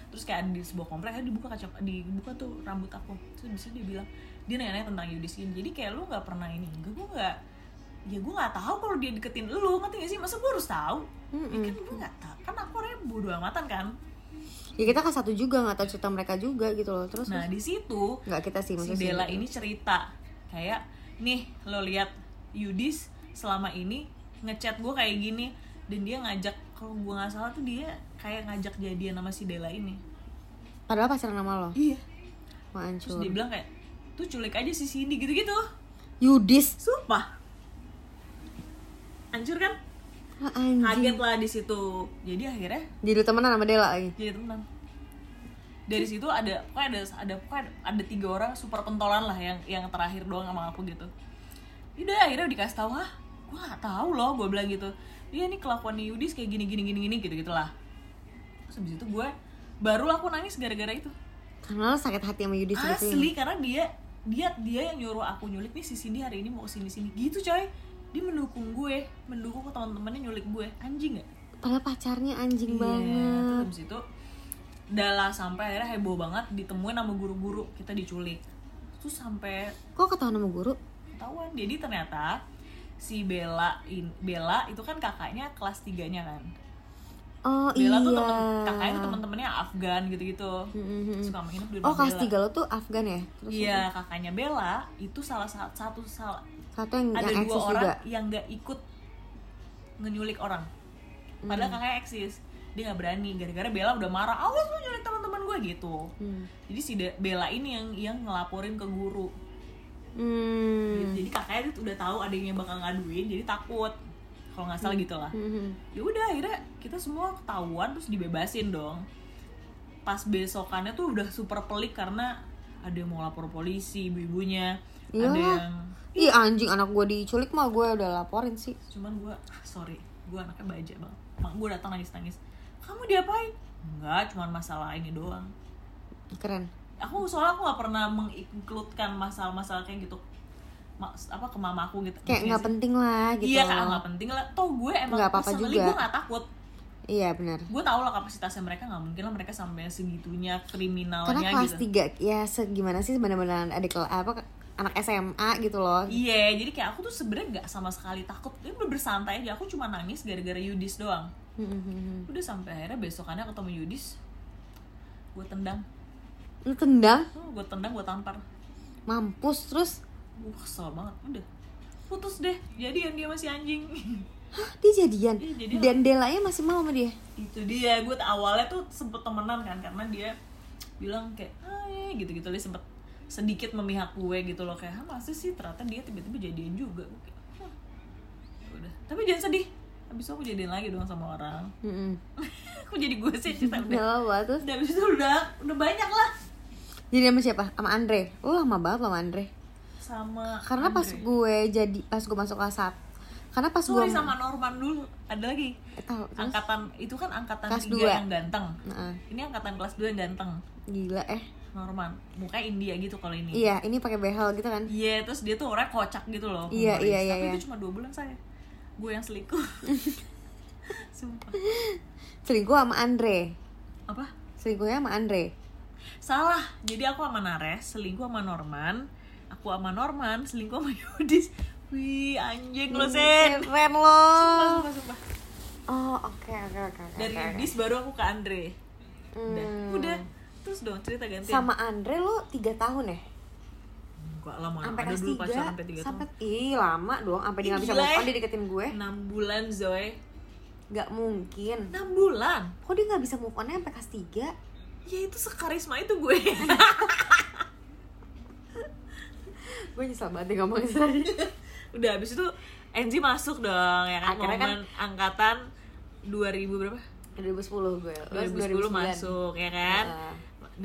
Terus kayak ada di sebuah komplek akhirnya dibuka kaca dibuka tuh rambut aku. Terus bisa dia bilang dia nanya-nanya tentang Yudis ini. Jadi kayak lu nggak pernah ini enggak gue nggak ya gue nggak tahu kalau dia deketin lu ngerti gak sih masa gue harus tahu Ya kan gue nggak tahu kan aku orangnya bodo amatan kan ya kita kan satu juga nggak tahu cerita mereka juga gitu loh terus nah terus. di situ nggak kita sih si maksudnya sih. gitu. Della ini cerita kayak nih lo lihat Yudis selama ini ngechat gue kayak gini dan dia ngajak kalau gue nggak salah tuh dia kayak ngajak jadian sama si Della ini padahal pacaran sama lo iya Wah, terus hancur dia bilang kayak tuh culik aja si Cindy gitu-gitu Yudis sumpah hancur kan Wah, anjing kaget lah di situ jadi akhirnya Ah, jadi temenan sama Dela lagi jadi temenan Iya, dari situ ada pokoknya ada ada pokoknya ada, ada tiga orang super pentolan lah yang yang terakhir doang sama aku gitu udah akhirnya dikasih tahu ah gue gak tahu loh gue bilang gitu iya ini kelakuan Yudis kayak gini gini gini gini gitu gitulah terus habis itu gue baru aku nangis gara-gara itu karena lo sakit hati sama Yudis gitu ya. asli karena dia dia dia yang nyuruh aku nyulik nih si sini hari ini mau sini sini gitu coy dia mendukung gue mendukung teman-temannya nyulik gue anjing gak padahal pacarnya anjing Iya, terus banget abis itu Dala sampai akhirnya heboh banget ditemuin sama guru-guru kita diculik. Terus sampai kok ketahuan sama guru ketahuan. Jadi ternyata si Bella in, Bella itu kan kakaknya kelas 3-nya kan. oh Bella iya tuh temen, kakaknya tuh temen-temennya Afgan gitu-gitu. Mm-mm. Suka menginap di rumah oh kelas Bella. tiga lo tuh Afgan ya terus Iya, kakaknya Bella itu salah sa- satu salah satu yang ada dua yang eksis orang juga yang nggak ikut ngenyulik orang padahal Hmm. kakaknya eksis dia nggak berani gara-gara Bella udah marah awas lu nyulik teman-teman gue gitu Hmm. jadi si De- Bella ini yang yang ngelaporin ke guru hmm. jadi kakaknya tuh udah tahu adanya bakal ngaduin jadi takut kalau nggak salah gitu lah Mhm. ya udah akhirnya kita semua ketahuan terus dibebasin dong pas besokannya tuh udah super pelik karena ada yang mau lapor polisi ibu-ibunya ada Iyalah. yang Ih anjing anak gue diculik mah gue udah laporin sih cuman gue sorry gue anaknya baja banget mak gue datang nangis nangis kamu diapain enggak cuman masalah ini doang Keren aku soalnya aku nggak pernah menginkludkan masalah-masalah kayak gitu Ma- apa ke mama aku gitu Kayak nggak Ngerti penting lah gak gitu sih? iya kayak nggak penting lah toh gue emang Nggak apa-apa personally juga. gue nggak takut Iya benar. gue tau lah kapasitasnya mereka nggak mungkin lah mereka sampai segitunya kriminalnya Karena kelas gitu 3 ya segimana sih benar-benar ada kel- apa anak SMA gitu loh. iya jadi kayak aku tuh sebenarnya nggak sama sekali takut ini bener bersantai aja aku cuma nangis gara-gara Yudis doang Mhm. udah sampai akhirnya besokannya ketemu Yudis gue tendang Lu tendang, gue tendang gue tampar mampus terus gue kesel banget udah putus deh jadi yang dia masih anjing [laughs] Hah, dia jadian. Iya, jadian. Dan Delanya masih mau sama dia. itu dia gue awalnya tuh sempet temenan kan karena dia bilang kayak hai gitu gitu dia sempet "Ah, sedikit memihak gue gitu loh kayak "Hah, masih sih ternyata dia tiba-tiba jadian juga Gue kayak, "Hah, udah tapi jangan sedih abis itu aku jadiin lagi dong sama orang [laughs] Mm-mm. aku jadi gue sih cerita Nggak udah apa-apa terus udah abis itu udah udah banyak lah jadi sama siapa? Sama Andre. Lu lama banget sama Andre. sama Karena pas Andre. gue jadi pas gue masuk kelas sat- Karena pas gue sorry sama Norman dulu ada lagi Eh, tahu terus. angkatan itu kan angkatan Kelas tiga dua. yang ganteng Nah, ini angkatan kelas 2 yang ganteng gila eh. Norman muka India gitu kalau ini Iya, ini pakai behel gitu kan. Iya, terus dia tuh orangnya kocak gitu loh. Iya, humoris. iya, iya, Tapi iya. itu cuma dua bulan saya. Gue yang [laughs] selingkuh. Sumpah. Selingkuh sama Andre. Apa? Selingkuhnya sama Andre. Salah. Jadi aku sama Nares, selingkuh sama Norman. Aku sama Norman, selingkuh sama [laughs] Yudis. Wih, anjing lo, Sen. Keren lo. Sumpah, sumpah, sumpah. Oh, oke oke oke. oke, Dari oke, oke. Yudis baru aku ke Andre. Udah. Hmm. Udah. Terus dong cerita ganti. Sama Andre lu 3 tahun ya? Gak lama. Sampai Ada kelas dulu 3. pacaran sampai 3 tahun. Ih, lama dong. Sampai dia Ih, nggak bisa gila move on ya. dia deketin gue. 6 bulan, Zoe. Gak mungkin. 6 bulan. Kok dia nggak bisa move onnya sampai kelas 3? Ya itu sekarisma itu gue. [laughs] Gue nyesel banget deh ngomongin [laughs] tadi. udah habis itu Enzi masuk dong ya kan Akhirnya kan- momen angkatan 2000 berapa 2010 gue. 2010 Lu masuk ya kan Iya.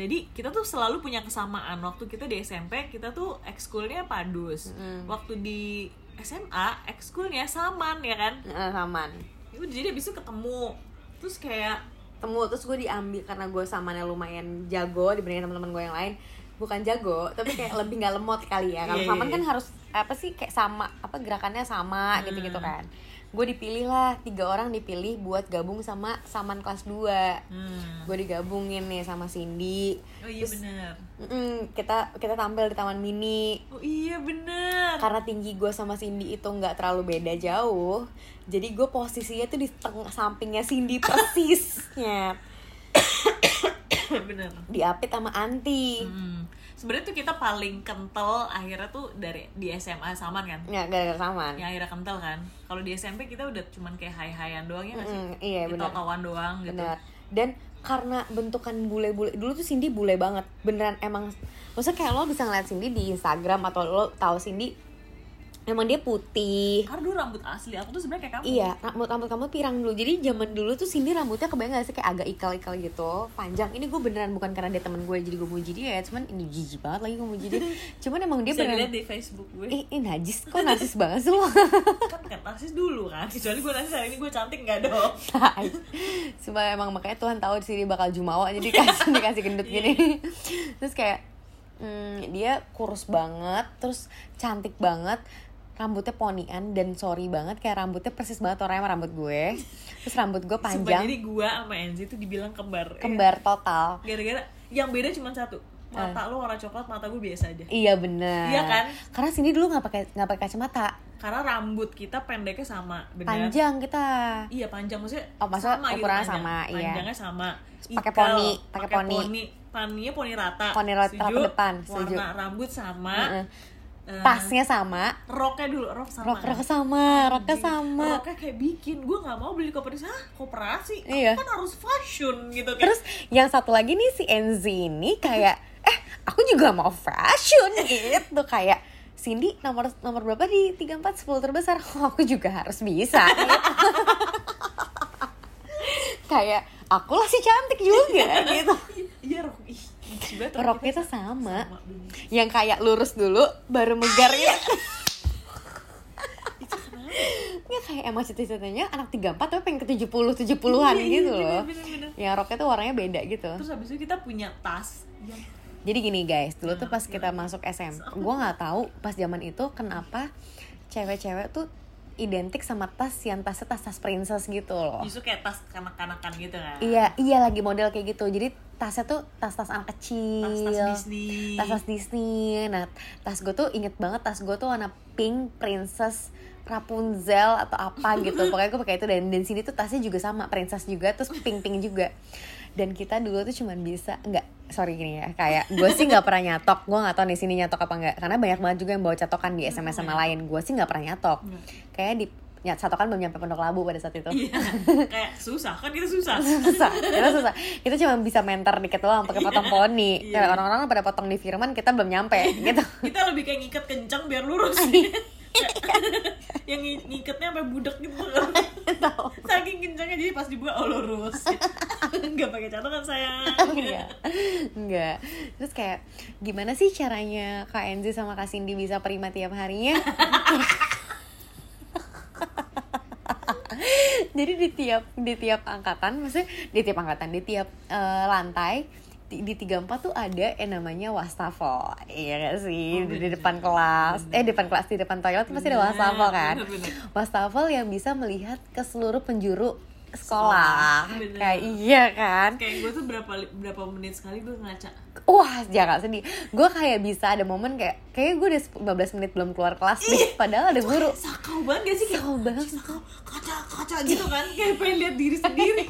jadi kita tuh selalu punya kesamaan waktu kita di SMP kita tuh ekskulnya padus Mm. waktu di SMA ekskulnya saman ya kan Eh, saman. Ya udah, jadi habis itu ketemu terus kayak Temu terus gue diambil karena gue samannya lumayan jago dibandingin teman-teman gue yang lain. Bukan jago, tapi kayak lebih nggak lemot kali ya. Kalau Iya, saman iya, kan harus apa sih kayak sama apa gerakannya sama gitu-gitu Hmm. kan. Gue dipilih lah, tiga orang dipilih buat gabung sama saman kelas 2. hmm. Gue digabungin nih sama Cindy. oh iya bener Mm, kita kita tampil di taman mini oh iya bener karena tinggi gue sama Cindy itu nggak terlalu beda jauh jadi gue posisinya tuh di tengah sampingnya Cindy persisnya [laughs] bener diapit sama Anti hmm. sebenarnya tuh kita paling kental akhirnya tuh dari di SMA saman kan ya gara-gara saman yang akhirnya kental kan kalau di SMP kita udah cuman kayak hai haian doang ya nggak sih Mm, iya kita benar kawan doang gitu benar dan karena bentukan bule-bule dulu tuh Cindy bule banget beneran emang maksudnya kayak lo bisa ngeliat Cindy di Instagram atau lo tahu Cindy emang dia putih karena dulu rambut asli aku tuh sebenarnya kayak kamu Iya, rambut rambut kamu pirang dulu. Jadi zaman dulu tuh Cindy rambutnya kebayang gak sih kayak agak ikal-ikal gitu, panjang. Ini gue beneran bukan karena dia temen gue jadi gue muji dia, ya. cuman ini jijik banget lagi gue muji dia. Cuman emang dia Iya. bisa dilihat ya? beneran di Facebook gue Ih, ih najis kok najis banget sih lo [laughs] [laughs] kan kan narsis dulu kan kecuali gue narsis hari ini gue cantik nggak [laughs] dong Tai. Sumpah emang makanya Tuhan tahu di sini bakal jumawa jadi dikasih [laughs] dikasih gendut gini. Terus kayak hmm, dia kurus banget, terus cantik banget, rambutnya ponian dan sorry banget kayak rambutnya persis banget orangnya sama rambut gue. Terus rambut gue Sumpah, panjang, jadi gue sama Enzi tuh dibilang kembar Eh, kembar Ah. total. gara-gara yang beda cuma satu mata lo warna coklat mata gue biasa aja Iya bener. Iya kan? Karena sini dulu nggak pakai nggak pakai kacamata, karena rambut kita pendeknya sama benar panjang kita. iya panjang maksudnya Oh, maksudnya gitu ukurannya panjang. sama, iya. panjangnya sama Terus pakai Ikal, poni, pakai poni. poninya poni rata Poni rata Setuju? ke depan, setuju. warna rambut sama Heeh. eh, Tasnya sama, roknya dulu rok sama rok rok sama, roknya Anjing, sama. roknya kayak bikin gue nggak mau beli koperasi ah koperasi Aku Iya. kan harus fashion gitu kan Terus yang satu lagi nih si Enzi ini kayak eh aku juga mau [laughs] fashion gitu kayak Cindy nomor nomor berapa di 34 10 terbesar? [laughs] Oh, aku juga harus [laughs] bisa. gitu. kayak akulah si cantik juga gitu. iya rok ih lucu banget rok Rok kita kita sama. sama, bener. Yang kayak lurus dulu baru megar Iya. [laughs] gitu. itu kenapa Ya kayak emang cita-citanya anak 34 tapi pengen ke 70 70-an Iya, iya, gitu bener, loh. bener, bener. Yang roknya tuh warnanya beda gitu. terus habis itu kita punya tas yang Jadi gini guys, dulu tuh pas kita masuk SM, gue nggak tahu pas zaman itu kenapa cewek-cewek tuh identik sama tas yang tasnya tas-tas princess gitu loh. justru kayak tas kanak-kanakan gitu kan Iya, iya lagi model kayak gitu. Jadi tasnya tuh tas-tas anak tas tas kecil. Disney Tas-tas Disney. Nah, tas gue tuh inget banget tas gue tuh warna pink princess Rapunzel atau apa gitu. [laughs] Pokoknya gue pakai itu dan dan sini tuh tasnya juga sama, princess juga terus pink-pink juga. Dan kita dulu tuh cuman bisa nggak sorry gini ya kayak gue sih nggak pernah nyatok gue nggak tahu di sini nyatok apa nggak karena banyak banget juga yang bawa catokan di Iya. sms sama lain gue sih nggak pernah nyatok Nggak. kayak di nyat catokan belum nyampe pondok labu pada saat itu iya kayak susah kan kita susah [laughs] susah kita susah kita cuma bisa mentor dikit doang pakai potong poni Iya. Kayak orang-orang pada potong di Firman kita belum nyampe gitu kita lebih kayak ngikat kencang biar lurus [laughs] yang ngi- ngikatnya sampai budak gitu loh. Saking kencangnya jadi pas dibuka oh lurus. Enggak pakai catokan sayang. Enggak. Enggak. Terus kayak gimana sih caranya Kak Enzi sama Kak Cindy bisa prima tiap harinya? [laughs] Jadi di tiap di tiap angkatan, maksudnya di tiap angkatan, di tiap eh, lantai di di tiga empat tuh ada yang namanya wastafel iya gak sih Oh, di, bener. depan kelas eh depan kelas di depan toilet tuh pasti ada wastafel kan Bener, bener. wastafel yang bisa melihat ke seluruh penjuru Sekolah, sekolah, bener. kayak iya kan Kayak gue tuh berapa li- berapa menit sekali gue ngaca. Wah, jangan sedih. Gue kayak bisa ada momen kayak kayak gue udah 15 menit belum keluar kelas nih, padahal ada guru. Sakau banget gak sih kayak Sakau banget. iya. "Ih, sakau kaca kaca gitu kan kayak pengen lihat diri sendiri.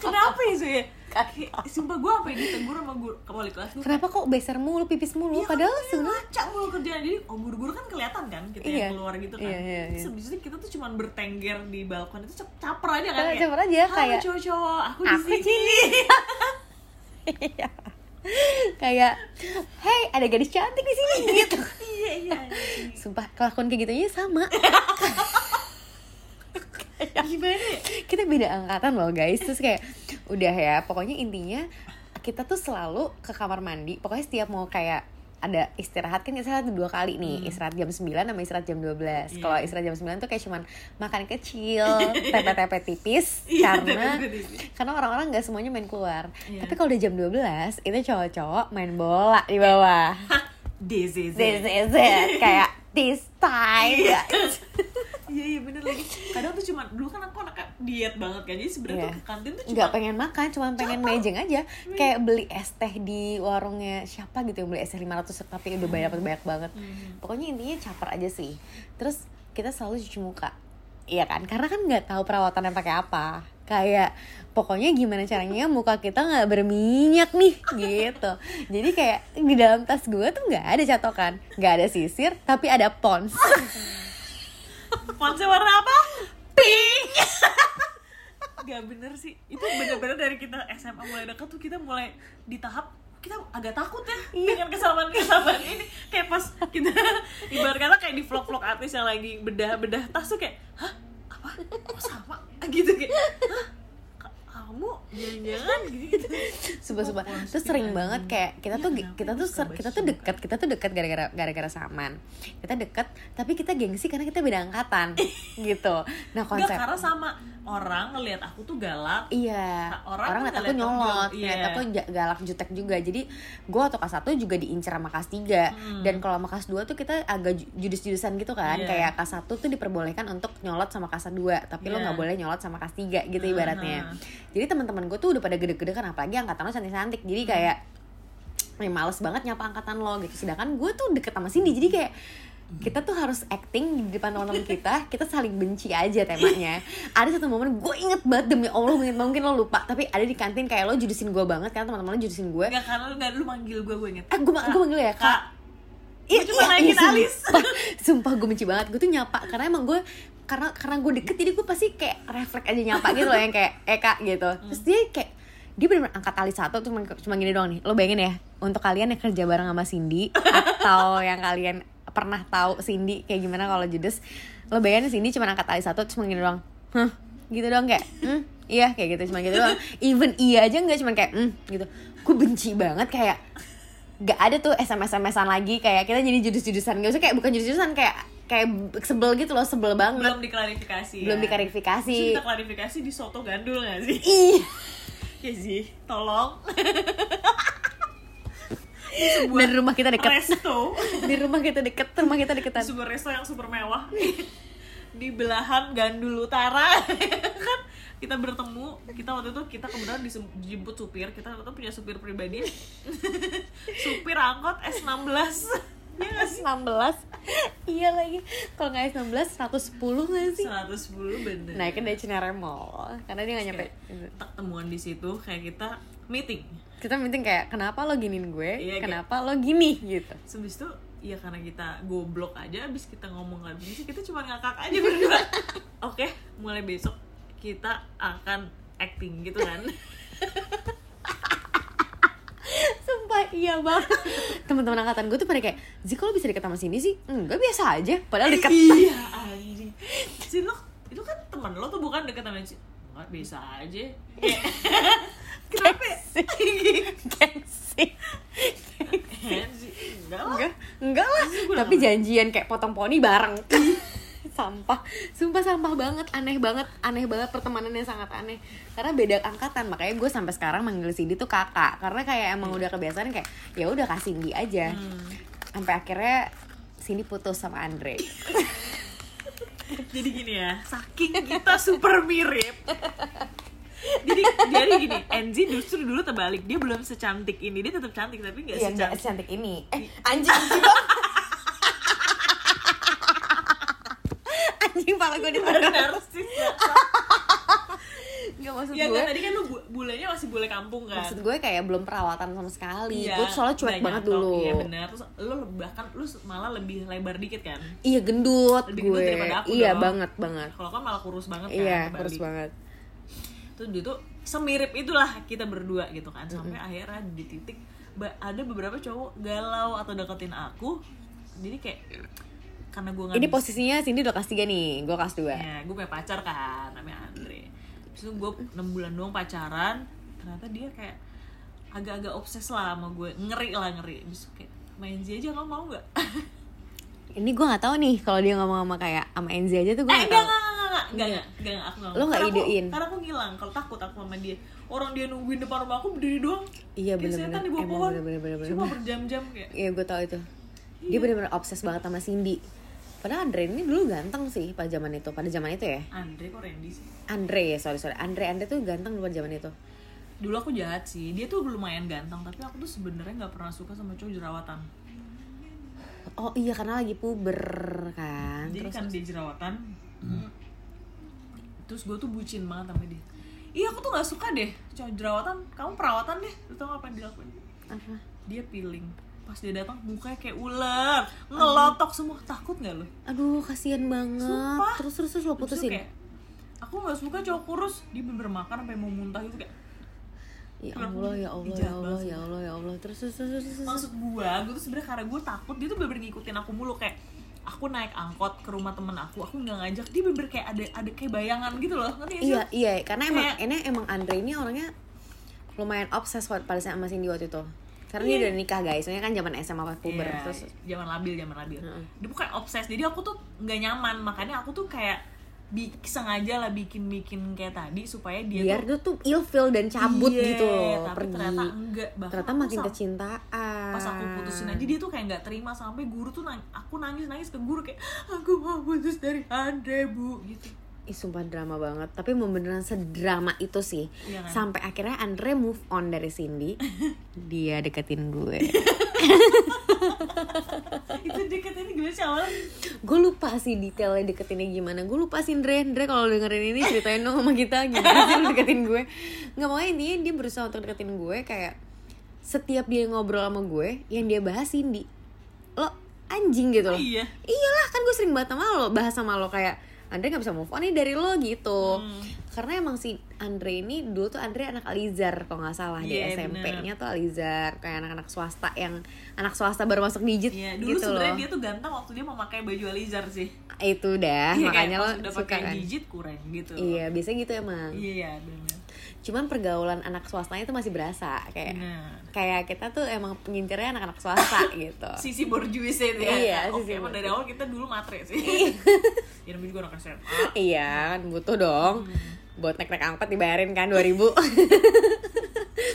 Kenapa ya Zoe? Kayak, Sumpah gue apa yang ditegur sama guru wali kelas gue. Kenapa kok beser mulu, pipis mulu, Iya, Oh, padahal kan, sebenarnya ngaca mulu kerjaan jadi oh guru-guru kan kelihatan kan kita Iya. yang keluar gitu kan Iya, iya, iya. terus habis itu kita tuh cuman bertengger di balkon itu cap- caper aja kan Eh, Caper- kayak, caper aja, "Halo, kayak, cowok-cowok aku, aku di di sini sini. Iya. kayak, hey ada gadis cantik di sini gitu. iya iya [laughs] Sumpah kelakuan kayak gitunya sama. iya. gimana ya? kita beda angkatan loh guys terus kayak udah ya pokoknya intinya kita tuh selalu ke kamar mandi pokoknya setiap mau kayak ada istirahat kan istirahat dua kali nih istirahat jam 9 sama istirahat jam 12 kalau Hmm. Iya. istirahat jam 9 tuh kayak cuman makan [laughs] kecil tepe-tepe tipis Iya, karena tepe-tepe tipis. karena orang-orang nggak semuanya main keluar Iya. tapi kalau udah jam 12 itu cowok-cowok main bola di bawah Hah, DZZ this is it kayak this time [laughs] iya iya bener lagi kadang tuh cuman dulu kan aku anaknya diet banget kan jadi sebenarnya Iya. tuh ke kantin tuh cuma nggak pengen makan cuma pengen mejeng aja kayak beli es teh di warungnya siapa gitu yang beli es teh 500 tapi udah banyak banyak banget pokoknya intinya caper aja sih terus kita selalu cuci muka iya kan karena kan nggak tahu perawatannya pakai apa kayak pokoknya gimana caranya muka kita nggak berminyak nih gitu jadi kayak di dalam tas gue tuh nggak ada catokan nggak ada sisir tapi ada pons Ponsnya warna apa? Pink. [laughs] Gak bener sih. Itu bener-bener dari kita SMA mulai dekat tuh kita mulai di tahap kita agak takut ya Iya. dengan kesamaan-kesamaan ini kayak pas kita ibarat kata kayak di vlog-vlog artis yang lagi bedah-bedah tas tuh kayak hah apa kok sama [laughs] gitu kayak hah Ka- kamu jangan-jangan gitu sumpah sumpah Oh, terus sering banget kayak kita Iya, tuh kita tuh ser- kita tuh dekat kita tuh dekat gara-gara gara-gara saman kita dekat tapi kita gengsi karena kita beda angkatan [laughs] gitu nah Enggak, konsep karena sama orang ngelihat aku tuh galak Iya, Nah, orang orang tuh ngeliat ngeliat aku aku nyolot, juga, ngeliat iya. aku ja- galak jutek juga Jadi gue waktu kelas 1 juga diincer sama kelas 3 Dan kalau sama kelas 2 tuh kita agak ju- judes-judesan gitu kan Hmm. Iya. Kayak kelas 1 tuh diperbolehkan untuk nyolot sama kelas 2 Tapi lo Iya. gak boleh nyolot sama kelas 3 gitu ibaratnya Jadi teman-teman gue tuh udah pada gede-gede kan Apalagi angkatan lo cantik-cantik Jadi Hmm. kayak "Ih, males banget nyapa angkatan lo gitu Sedangkan gue tuh deket sama Cindy Jadi kayak kita tuh harus acting di depan teman-teman kita kita saling benci aja temanya ada satu momen gue inget banget demi allah gue inget mungkin lo lupa tapi ada di kantin kayak lo judesin gue banget karena teman-teman lo judesin gue Enggak karena lu enggak lu manggil gue gue inget eh gue ma- gue manggil lo ya kak kak Gue cuma naikin alis. Iya, sumpah, [laughs] sumpah gue benci banget gue tuh nyapa karena emang gue karena karena gue deket jadi gue pasti kayak refleks aja nyapa gitu loh yang kayak eh kak gitu Hmm. terus dia kayak dia bener-bener angkat tali satu cuma cuma gini doang nih lo bayangin ya untuk kalian yang kerja bareng sama Cindy [laughs] atau yang kalian pernah tahu Cindy kayak gimana kalau judes lo bayangin Cindy cuma angkat tali satu cuma gini doang Hah, gitu doang kayak hmm, iya kayak gitu cuma gitu doang even iya aja nggak cuma kayak hmm, gitu gue benci banget kayak gak ada tuh SMS SMS-an lagi kayak kita jadi judes-judesan gak usah kayak bukan judes-judesan kayak kayak sebel gitu loh sebel banget belum diklarifikasi belum ya. diklarifikasi. Terus kita klarifikasi di soto gandul gak sih? [laughs] Ih, Iya sih, tolong Di sebuah dan rumah ya? kita deket resto di rumah kita deket rumah kita di deketan sebuah resto yang super mewah [laughs] Di belahan gandul utara [laughs] Kan kita bertemu, kita waktu itu kita kebetulan disem- dijemput supir Kita waktu itu punya supir pribadi [laughs] Supir angkot [laughs] S16 Iya gak sih? 16 iya lagi kalau nggak 16 110 nggak sih 110 bener naikin dari Cinere Mall karena dia nggak nyampe Iya. Temuan di situ kayak kita meeting kita penting kayak kenapa lo giniin gue Iya, kayak- kenapa lo gini [laughs] gitu Terus habis itu ya karena kita goblok aja abis kita ngomong nggak sih kita cuma ngakak aja [laughs] berdua oke mulai besok kita akan acting gitu kan sumpah iya [laughs] banget teman-teman angkatan gue tuh pada kayak Ziko lo bisa deket sama Cindy sih enggak biasa aja padahal deket [laughs] iya anjing si lo itu kan teman lo tuh bukan deket sama si nggak bisa aja [laughs] Kayak, kenapa ya? gengsi Apaan sih? enggak lah enggak enggak lah tapi janjian kayak potong poni bareng sampah sumpah sampah banget aneh banget aneh banget pertemanannya sangat aneh karena beda angkatan makanya gue sampai sekarang manggil Cindy tuh kakak karena kayak emang udah kebiasaan kayak ya udah kasih Cindy aja Hmm. sampai akhirnya Cindy putus sama Andre jadi gini ya saking kita [laughs] super mirip jadi jadi gini Enzi justru dulu terbalik dia belum secantik ini dia tetap cantik tapi nggak Iya nggak secantik secantik ini eh anjing [laughs] anjing pala gue [laughs] ditaruh narsis Iya, nggak maksud ya gue kan tadi kan lu bu- bulenya masih bule kampung kan maksud gue kayak belum perawatan sama sekali Iya, gue tuh soalnya cuek banyak banget dong. dulu Iya benar. Terus lu bahkan lu malah lebih lebar dikit kan? iya gendut Lebih gendut gue daripada aku iya dong. banget banget Kalau kan malah kurus banget kan? iya ke Bali. kurus banget Tuh dia tuh semirip itulah kita berdua gitu kan. Sampai akhirnya di titik ba- ada beberapa cowok galau atau deketin aku. Jadi kayak karena gue nggak ini bisa- posisinya Cindy udah kelas 3 nih gue kelas 2 Ya, gue punya pacar kan, namanya Andre. Terus itu gue 6 bulan doang pacaran, ternyata dia kayak agak-agak obses lah sama gue, ngeri lah ngeri. Terus kayak, main Z aja kamu mau nggak? [laughs] ini gue nggak tahu nih kalau dia ngomong sama kayak sama Enzi aja tuh gue eh, nggak enggak, tahu Iya, enggak, enggak, enggak, enggak, enggak, enggak, enggak, aku enggak. Lo nggak Karena aku- idein? Karena aku ngilang, kalau takut aku sama dia. Orang dia nungguin depan rumah aku berdiri doang. Iya, Kayak bener-bener. setan di bawah Emang pohon. bener-bener, Cuma bener-bener. berjam-jam kayak. Iya gue tau itu Iya. Dia bener-bener obses banget sama Cindy Padahal Andre ini dulu ganteng sih pada zaman itu Pada zaman itu ya Andre kok Randy sih? Andre ya sorry sorry Andre Andre tuh ganteng dulu pada zaman itu Dulu aku jahat sih, dia tuh lumayan ganteng, tapi aku tuh sebenarnya nggak pernah suka sama cowok jerawatan. Oh iya karena lagi puber kan Jadi Terus kan dia jerawatan. Terus gue tuh bucin banget sama dia. Iya aku tuh nggak suka deh cowok jerawatan. Kamu perawatan deh. Lu tau apa yang dilakuin? apa? Dia peeling. Pas dia datang mukanya kayak ular, ngelotok semua. Takut nggak lo? Aduh kasihan banget Sumpah. Terus terus terus lo Terus tuh putusin kayak, aku nggak suka cowok kurus. Dia bener makan sampai mau muntah gitu kayak. Ya Kurang Allah ya Allah ya bijak Allah banget. ya Allah ya Allah Terus terus terus terus, terus. Maksud gue, gue tuh sebenarnya karena gue takut dia tuh bener-bener ngikutin aku mulu kayak aku naik angkot ke rumah temen aku, aku nggak ngajak dia bener kayak ada ada kayak bayangan gitu loh, ngerti gak sih? Iya iya karena emang Kayak- ini emang Andre ini orangnya lumayan obses wa- pada sama Cindy waktu itu karena dia udah nikah guys, soalnya kan zaman SMA pas puber Iya, terus zaman labil zaman labil Heeh. dia bukan obses jadi aku tuh nggak nyaman makanya aku tuh kayak bi- sengaja lah bikin bikin kayak tadi supaya dia biar tuh dia tuh ilfeel dan cabut Iya, gitu loh tapi pergi ternyata enggak bahkan ternyata aku makin sam- kecintaan pas aku putusin aja dia tuh kayak nggak terima sampai guru tuh nang- aku nangis nangis ke guru kayak aku mau putus dari Andre bu gitu [laughs] Ih, sumpah drama banget tapi emang beneran sedrama itu sih Iya kan? sampai akhirnya Andre move on [laughs] dari Cindy dia deketin gue itu deket ini gimana sih awalnya gue lupa sih detailnya deketinnya gimana gue lupa sih Andre Andre kalau dengerin ini ceritain dong sama kita gimana sih lu deketin gue nggak mau intinya dia berusaha untuk deketin gue kayak setiap dia ngobrol sama gue yang dia bahas Cindy lo anjing gitu loh iya iyalah kan gue sering banget sama lo bahas sama lo kayak Andre nggak bisa move on nih dari lo gitu Hmm. karena emang si Andre ini dulu tuh Andre anak Alizar kalau nggak salah Iya, di SMP-nya tuh Alizar kayak anak-anak swasta yang anak swasta baru masuk digit Iya, dulu gitu sebenarnya loh dia tuh ganteng waktu dia memakai baju Alizar sih. itu dah Iya, Ah, makanya kayak lo pas udah suka pakai kan jijit kurang gitu. iya biasanya gitu emang Iya, benar. cuman pergaulan anak swastanya itu masih berasa kayak Benar. kayak kita tuh emang pengintirnya anak-anak [laughs] swasta gitu sisi borjuis itu ya Iya, Oke, sisi emang dari awal kita dulu matre sih [laughs] ya namanya juga anak SMA iya kan butuh dong Iya. buat naik-naik angkot dibayarin kan 2000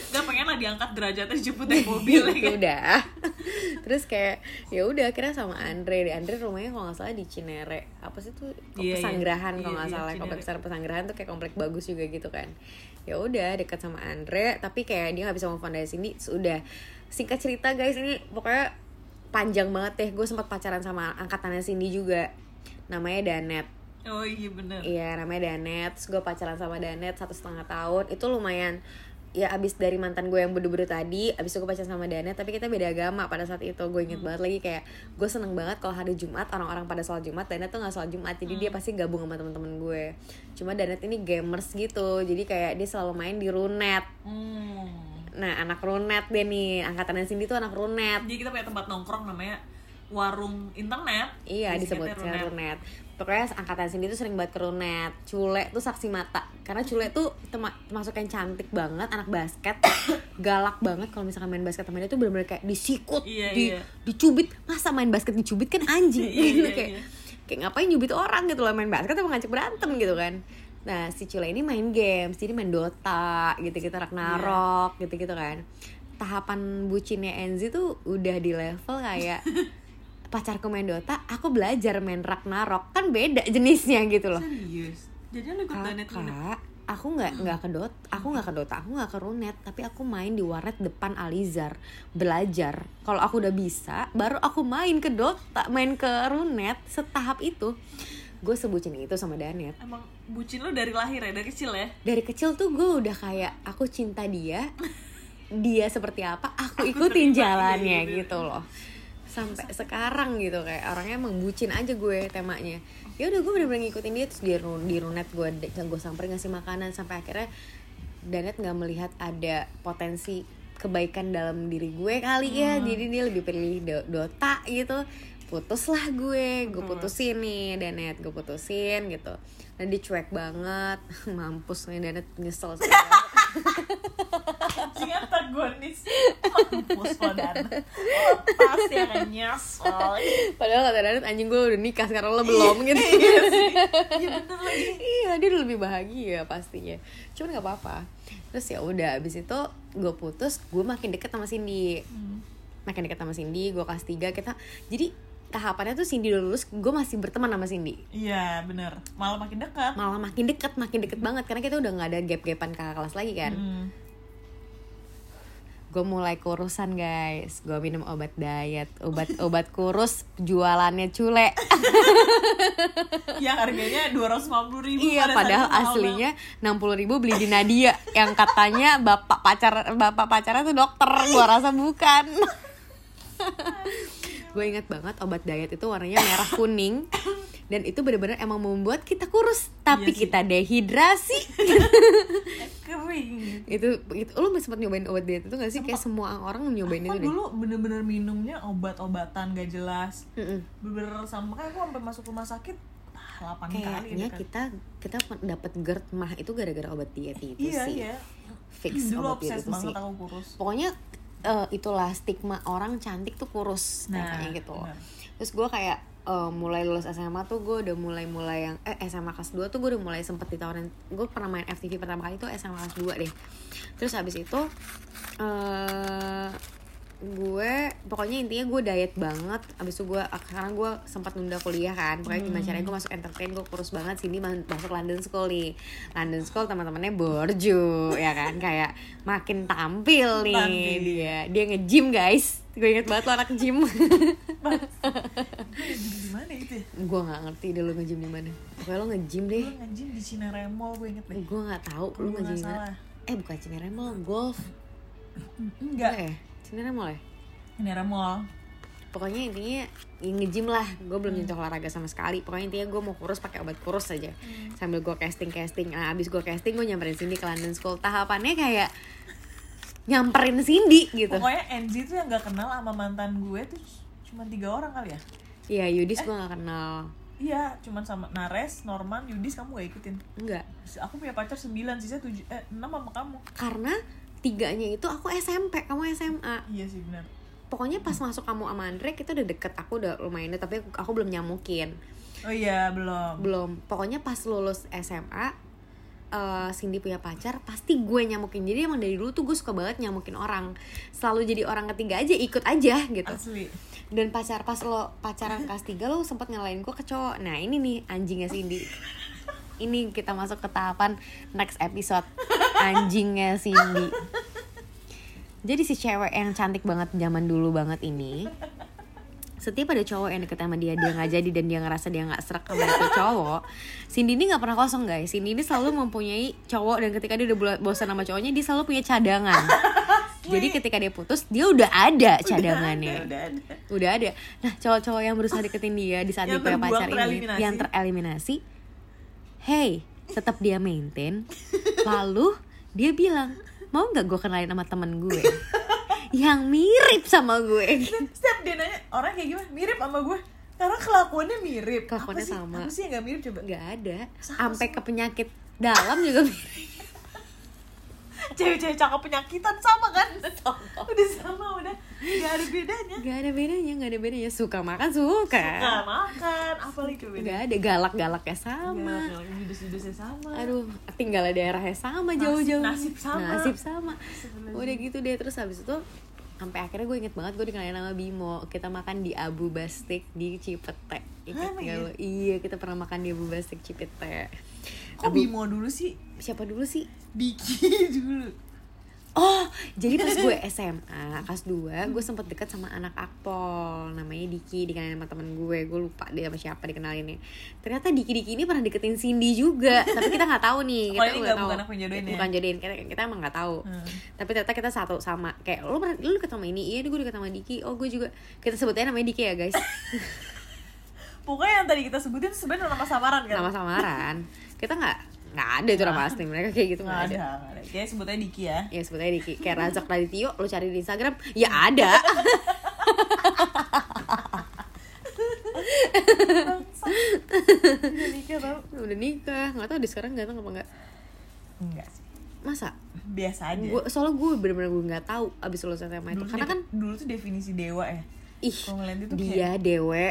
gak pengen lah diangkat derajatnya dijemput Iya, naik mobil ya itu kan gitu, udah [laughs] terus kayak ya udah akhirnya sama Andre Andre rumahnya kalau nggak salah di Cinere apa sih tuh Iya, iya. pesanggrahan kalau Iya, nggak iya, salah komplek Cinere. besar pesanggrahan tuh kayak komplek bagus juga gitu kan ya udah dekat sama Andre tapi kayak dia nggak bisa move on dari sini sudah singkat cerita guys ini pokoknya panjang banget deh gue sempat pacaran sama angkatannya Cindy juga namanya Danet oh iya bener Iya namanya Danet, terus gue pacaran sama Danet satu setengah tahun Itu lumayan, ya abis dari mantan gue yang bedu-bedu tadi Abis itu gue pacaran sama Danet, tapi kita beda agama pada saat itu Gue inget banget lagi kayak, gue seneng banget kalau hari Jumat Orang-orang pada sholat Jumat, Danet tuh gak sholat Jumat Jadi dia pasti gabung sama temen-temen gue Cuma Danet ini gamers gitu, jadi kayak dia selalu main di runet hmm. Nah, anak runet deh nih. Angkatannya Cindy tuh anak runet. Jadi kita punya tempat nongkrong namanya warung internet. Iya disebut Disingkatnya Runet. runet. runet. Pokoknya angkatan sini tuh sering banget ke runet. Cule tuh saksi mata. Karena Cule tuh tema- termasuk yang cantik banget, anak basket, [coughs] galak banget kalau misalkan main basket sama dia tuh bener-bener kayak disikut, Iya, di- iya. dicubit. Masa main basket dicubit kan [laughs] anjing. Iya, Gitu, iya, kayak, iya. kayak ngapain nyubit orang gitu loh main basket emang ngajak berantem gitu kan. Nah, si Cule ini main games, jadi main Dota, gitu-gitu Iya. Ragnarok, gitu-gitu kan. Tahapan bucinnya Enzi tuh udah di level kayak [laughs] pacarku main Dota, aku belajar main Ragnarok kan beda jenisnya gitu loh. Serius. Jadi lu ikut Hmm. Danet Runet. Kakak, aku nggak nggak ke Dota, aku nggak ke Dota, aku nggak ke Runet, tapi aku main di warnet depan Alizar belajar. Kalau aku udah bisa, baru aku main ke Dota, main ke Runet setahap itu. Gue sebutin itu sama Danet. Emang bucin lu dari lahir ya, dari kecil ya? Dari kecil tuh gue udah kayak aku cinta [laughs] dia, dia seperti apa, aku ikutin terima, jalannya iya, iya. gitu loh sampai sekarang gitu kayak orangnya emang bucin aja gue temanya ya udah gue bener-bener ngikutin dia terus di, ru- di runet gue de- gue samperin ngasih makanan sampai akhirnya Danet nggak melihat ada potensi kebaikan dalam diri gue kali ya jadi dia lebih pilih do- Dota gitu putuslah gue gue putusin nih Danet gue putusin gitu dan dia cuek banget [laughs] mampus nih Danet nyesel [laughs] sekali. Anjing [laughs] antagonis. Mampus lo Dan. Lepas ya kan nyesel. Padahal kata Danet anjing gue udah nikah sekarang lo belum gitu. Iya [laughs] Iya dia udah lebih bahagia pastinya. Cuman nggak apa-apa. Terus ya udah abis itu gue putus, gue makin deket sama Cindy. Makin deket sama Cindy, gue kelas 3 kita. Jadi tahapannya tuh Cindy udah lulus, gue masih berteman sama Cindy. Iya bener. Malah makin dekat. Malah makin deket, makin deket banget karena kita udah nggak ada gap-gapan kakak kelas lagi kan. Hmm. gue mulai kurusan guys gue minum obat diet obat obat kurus jualannya cule Yang harganya 250 ribu Iya, padahal aslinya enam puluh ribu beli di Nadia yang katanya bapak pacar bapak pacarnya tuh dokter, gua rasa bukan. gue ingat banget obat diet itu warnanya merah kuning dan itu benar-benar emang membuat kita kurus Iya tapi sih. kita dehidrasi Eh, Kering itu itu lo sempat nyobain obat diet itu gak sih kayak semua orang nyobain Aku itu deh dulu bener-bener minumnya obat-obatan gak jelas Mm-mm. Bener-bener sama kayak aku sampai masuk rumah sakit ah, 8 kali kayaknya gitu kan. kita kita dapat GERD mah itu gara-gara obat diet itu Iya, sih iya fix Dulu obat diet obses itu sih banget aku kurus pokoknya eh, itulah stigma orang cantik tuh kurus Nah, katanya gitu benar. terus gue kayak eh, mulai lulus SMA tuh gue udah mulai mulai yang eh SMA kelas 2 tuh gue udah mulai sempet ditawarin gue pernah main FTV pertama kali tuh SMA kelas 2 deh terus habis itu eh gue pokoknya intinya gue diet banget abis itu gue karena gue sempat nunda kuliah kan pokoknya gimana caranya gue masuk entertain gue kurus banget sini masuk London School nih London School teman-temannya borju ya kan kayak makin tampil nih Tampil. dia dia nge-gym guys gue inget banget lo anak gym [laughs] Eh, Gimana itu ya? gue nggak ngerti deh lo nge-gym di mana pokoknya lo nge-gym deh Gue ngejim di Cinere Mall gue inget deh gue nggak tahu lo Kalau nggak nge-gym di mana salah. eh bukan Cinere Mall golf Enggak, eh Cinere Mall ya Cinere Mall pokoknya intinya ya nge-gym lah gue Hmm. belum nyentuh olahraga sama sekali pokoknya intinya gue mau kurus pakai obat kurus aja Hmm. sambil gue casting casting nah abis gue casting gue nyamperin Cindy ke London School tahapannya kayak nyamperin Cindy gitu Pokoknya Enzi tuh yang gak kenal sama mantan gue tuh cuma tiga orang kali ya iya Yudis gue gak kenal Iya, cuman sama Nares, Norman, Yudis kamu gak ikutin enggak Aku punya pacar 9, sisa 7, eh 6 sama kamu karena tiganya itu aku SMP kamu SMA Iya sih benar. pokoknya pas masuk kamu sama Andre kita udah deket aku udah lumayan deket, tapi aku, aku belum nyamukin Oh iya, belum. belum pokoknya pas lulus SMA eh Cindy punya pacar pasti gue nyamukin jadi emang dari dulu tuh gue suka banget nyamukin orang selalu jadi orang ketiga aja ikut aja gitu Asli. dan pacar pas lo pacaran kelas 3 lo sempet ngelain gue ke cowok nah ini nih anjingnya Cindy ini kita masuk ke tahapan next episode anjingnya Cindy jadi si cewek yang cantik banget zaman dulu banget ini setiap ada cowok yang deket sama dia dia nggak jadi dan dia ngerasa dia nggak serak sama itu cowok Cindy ini nggak pernah kosong guys Cindy ini selalu mempunyai cowok dan ketika dia udah bula- bosan sama cowoknya dia selalu punya [laughs] cadangan jadi ketika dia putus dia udah ada cadangannya Udah ada. udah ada nah cowok-cowok yang berusaha deketin dia di saat dia Yang punya terbuang, pacar ini tereliminasi. yang tereliminasi [laughs] hey tetap dia maintain lalu dia bilang mau nggak gue kenalin sama temen gue yang mirip sama gue setiap dia nanya orang kayak gimana mirip sama gue karena kelakuannya mirip Kelakuannya apa sih? sama. apa sih yang gak mirip coba nggak ada Sama sampai ke penyakit dalam juga mirip cewek-cewek cakep penyakitan sama kan udah sama udah gak ada bedanya nggak ada bedanya nggak ada bedanya suka makan suka, gak makan apalagi coba nggak ada galak galaknya sama judus-judusnya sama aduh tinggal di daerahnya sama jauh-jauh nasib sama. nasib sama Sebenarnya. udah gitu deh terus habis itu sampai akhirnya gue inget banget gue dikenalin sama Bimo kita makan di Abu Bastik di Cipete Ingat Lama nggak ya? lo? iya kita pernah makan di Abu Bastik Cipete kok Bimo dulu sih siapa dulu sih Diki [laughs] dulu Oh, jadi pas gue SMA kelas 2, gue sempet deket sama anak akpol namanya Diki, dikenalin sama temen gue. Gue lupa dia sama siapa dikenalinnya. Ternyata Diki-Diki ini pernah deketin Cindy juga, tapi kita nggak tahu Oh, nih. Kita ini nggak nggak- bukan aku yang jodohin ya? Bukan jodohin, kita, kita emang nggak tahu. Hmm. Tapi ternyata kita satu sama. Kayak lu pernah lu deket sama ini, iya gue deket sama Diki. Oh, gue juga. Kita sebutnya namanya Diki ya, guys. pokoknya yang tadi kita sebutin sebenarnya nama samaran kan Nama samaran. Kita nggak nggak ada itu nama asli mereka kayak gitu nggak nggak ada ada. nggak ada kayak sebutnya Diki [laughs] ya Ya sebutnya Diki, kayak Razak Radityo, lu cari di Instagram, ya ada. Iya, Diki tau udah nikah nggak tahu di sekarang ganteng apa nggak enggak sih masa biasa aja gue soalnya gue bener-bener gue nggak tahu abis lulus SMA itu Dulu karena deh- kan dulu tuh definisi dewa ya ih kalau ngeliat itu kayak dia dewe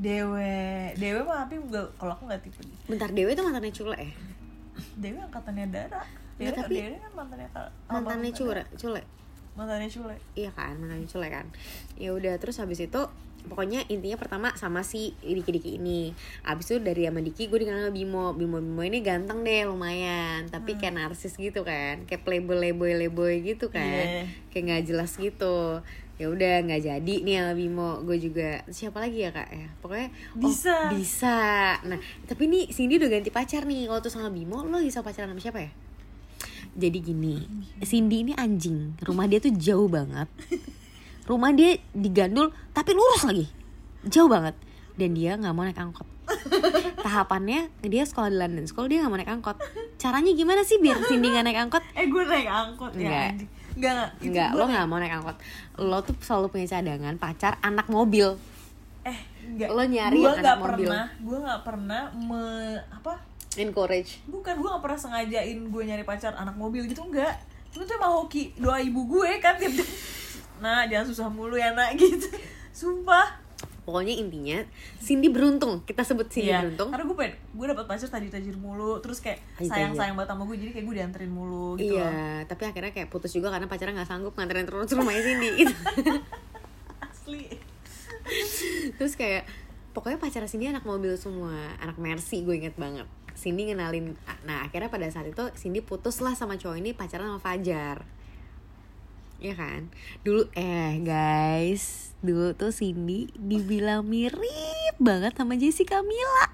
dewe dewe mah tapi enggak kalau aku nggak tipe gitu. bentar dewe itu mantannya cule ya dewe angkatannya dara dewe, Nggak, Iya, tapi- dewe kan mantannya Kak- mantannya Kak- cule cule mantannya cule iya kan mantannya cule kan ya udah terus habis itu pokoknya intinya pertama sama si Diki Diki ini abis itu dari sama Diki gue dikenal sama Bimo Bimo Bimo ini ganteng deh lumayan tapi kayak narsis gitu kan kayak playboy playboy playboy gitu Hmm. Iya. kan kayak nggak jelas gitu ya udah nggak jadi nih sama Bimo gue juga siapa lagi ya kak ya pokoknya oh, Bisa. bisa nah tapi nih Cindy udah ganti pacar nih kalau tuh sama Bimo lo lagi sama pacaran sama siapa ya jadi gini Cindy ini anjing rumah dia tuh jauh banget rumah dia digandul tapi lurus lagi jauh banget dan dia nggak mau naik angkot tahapannya dia sekolah di London sekolah dia nggak mau naik angkot caranya gimana sih biar Cindy nggak naik angkot eh gue naik angkot Nggak. ya anjing enggak enggak itu Enggak, gua lo nggak mau naik angkot Lo tuh selalu punya cadangan pacar anak mobil eh enggak Lo nyari gue yang nggak anak mobil. pernah gue nggak pernah me apa Encourage bukan gue nggak pernah sengajain gue nyari pacar anak mobil gitu enggak cuma tuh emang hoki doa ibu gue kan tiap nah jangan susah mulu ya nak [laughs] gitu sumpah Pokoknya intinya Cindy beruntung Kita sebut Cindy Iya, beruntung karena gue pengen gue dapet pacar tajir tajir mulu terus kayak Tajir-tajir. sayang sayang banget sama gue jadi kayak gue dianterin mulu gitu loh Iya, tapi akhirnya kayak putus juga karena pacarnya nggak sanggup nganterin terus rumahnya Cindy gitu. asli Terus kayak pokoknya pacarnya Cindy anak mobil semua, anak Mercy gue inget banget. Cindy ngenalin, nah akhirnya pada saat itu Cindy putus lah sama cowok ini pacaran sama Fajar. Iya kan? Dulu eh guys, dulu tuh Cindy dibilang mirip banget sama Jessica Mila.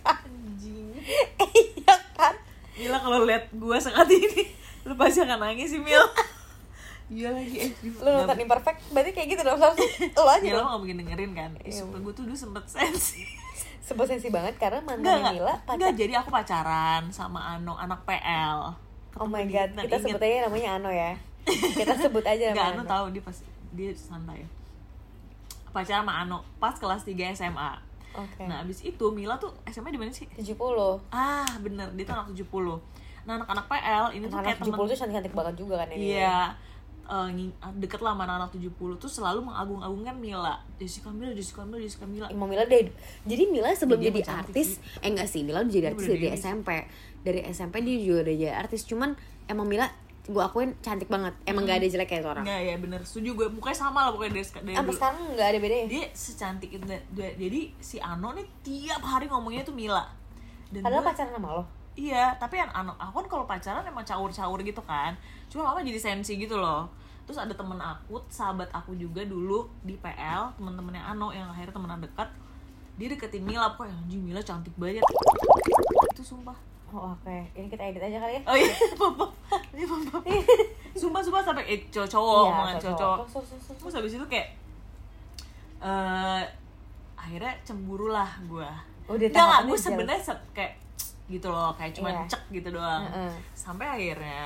anjing iya kan gila kalau lihat gue saat ini lu pasti akan nangis sih Mil iya lagi eh di- nggak- imperfect berarti kayak gitu dong lo Gila lo gak mungkin dengerin kan Ih, Sumpah gue tuh dulu sempet sensi Sebut sensi banget karena oh Enggak, enggak Enggak, jadi aku pacaran sama Ano, anak PL Oh my Ketemu god, di- nah, kita inget. sebut aja namanya Ano ya. Kita sebut aja Enggak, Ano namanya. Ano. tahu dia pas dia santai Pacaran sama Ano, pas kelas 3 SMA Oke. Nah abis itu Mila tuh SMA di mana sih? 70. Ah bener, dia tuh anak 70 Nah anak-anak PL ini tuh kayak Anak temen 70 tuh cantik-cantik banget juga kan ini. Iya eh, nging- deket lah sama anak-anak 70 tuh selalu mengagung-agungkan Mila Jessica Mila, Jessica Mila, Jessica Mila Emang Mila dari jadi Mila Eh, sebelum Dia jadi mau cantik artis, eh enggak sih, Mila udah jadi Dia artis ya, udah dari jadi. SMP. Dari SMP dia juga udah jadi artis, cuman emang Mila gue akuin cantik banget. Emang gak ada jelek kayak itu orang. Enggak ya bener, setuju gue, mukanya sama lah pokoknya dari, dari Sampai dulu sekarang gak ada bedanya. dia secantik itu Dan- dia- jadi si Ano nih tiap hari ngomongnya tuh Mila dan Padahal gua- pacaran sama lo. iya tapi yang Ano aku kan kalau pacaran emang caur-caur gitu kan cuma lama jadi sensi gitu loh terus ada temen aku sahabat aku juga dulu di PL temen-temennya Ano yang akhirnya temenan dekat dia deketin Mila pokoknya anjing Mila cantik banget itu sumpah Oh, oke. Ini kita edit aja kali ya. oh iya [laughs] papa ini papa sumpah sumpah sampai eh, Iya, cowok iya, cowok omongan cowok cowok Sus, sus, sus, sus. terus habis itu kayak eh akhirnya cemburulah gue Oh, dia enggak tahapannya gue jealous. sebenarnya se- kayak gitu loh kayak cuma Iya. cek gitu doang Heeh. sampai akhirnya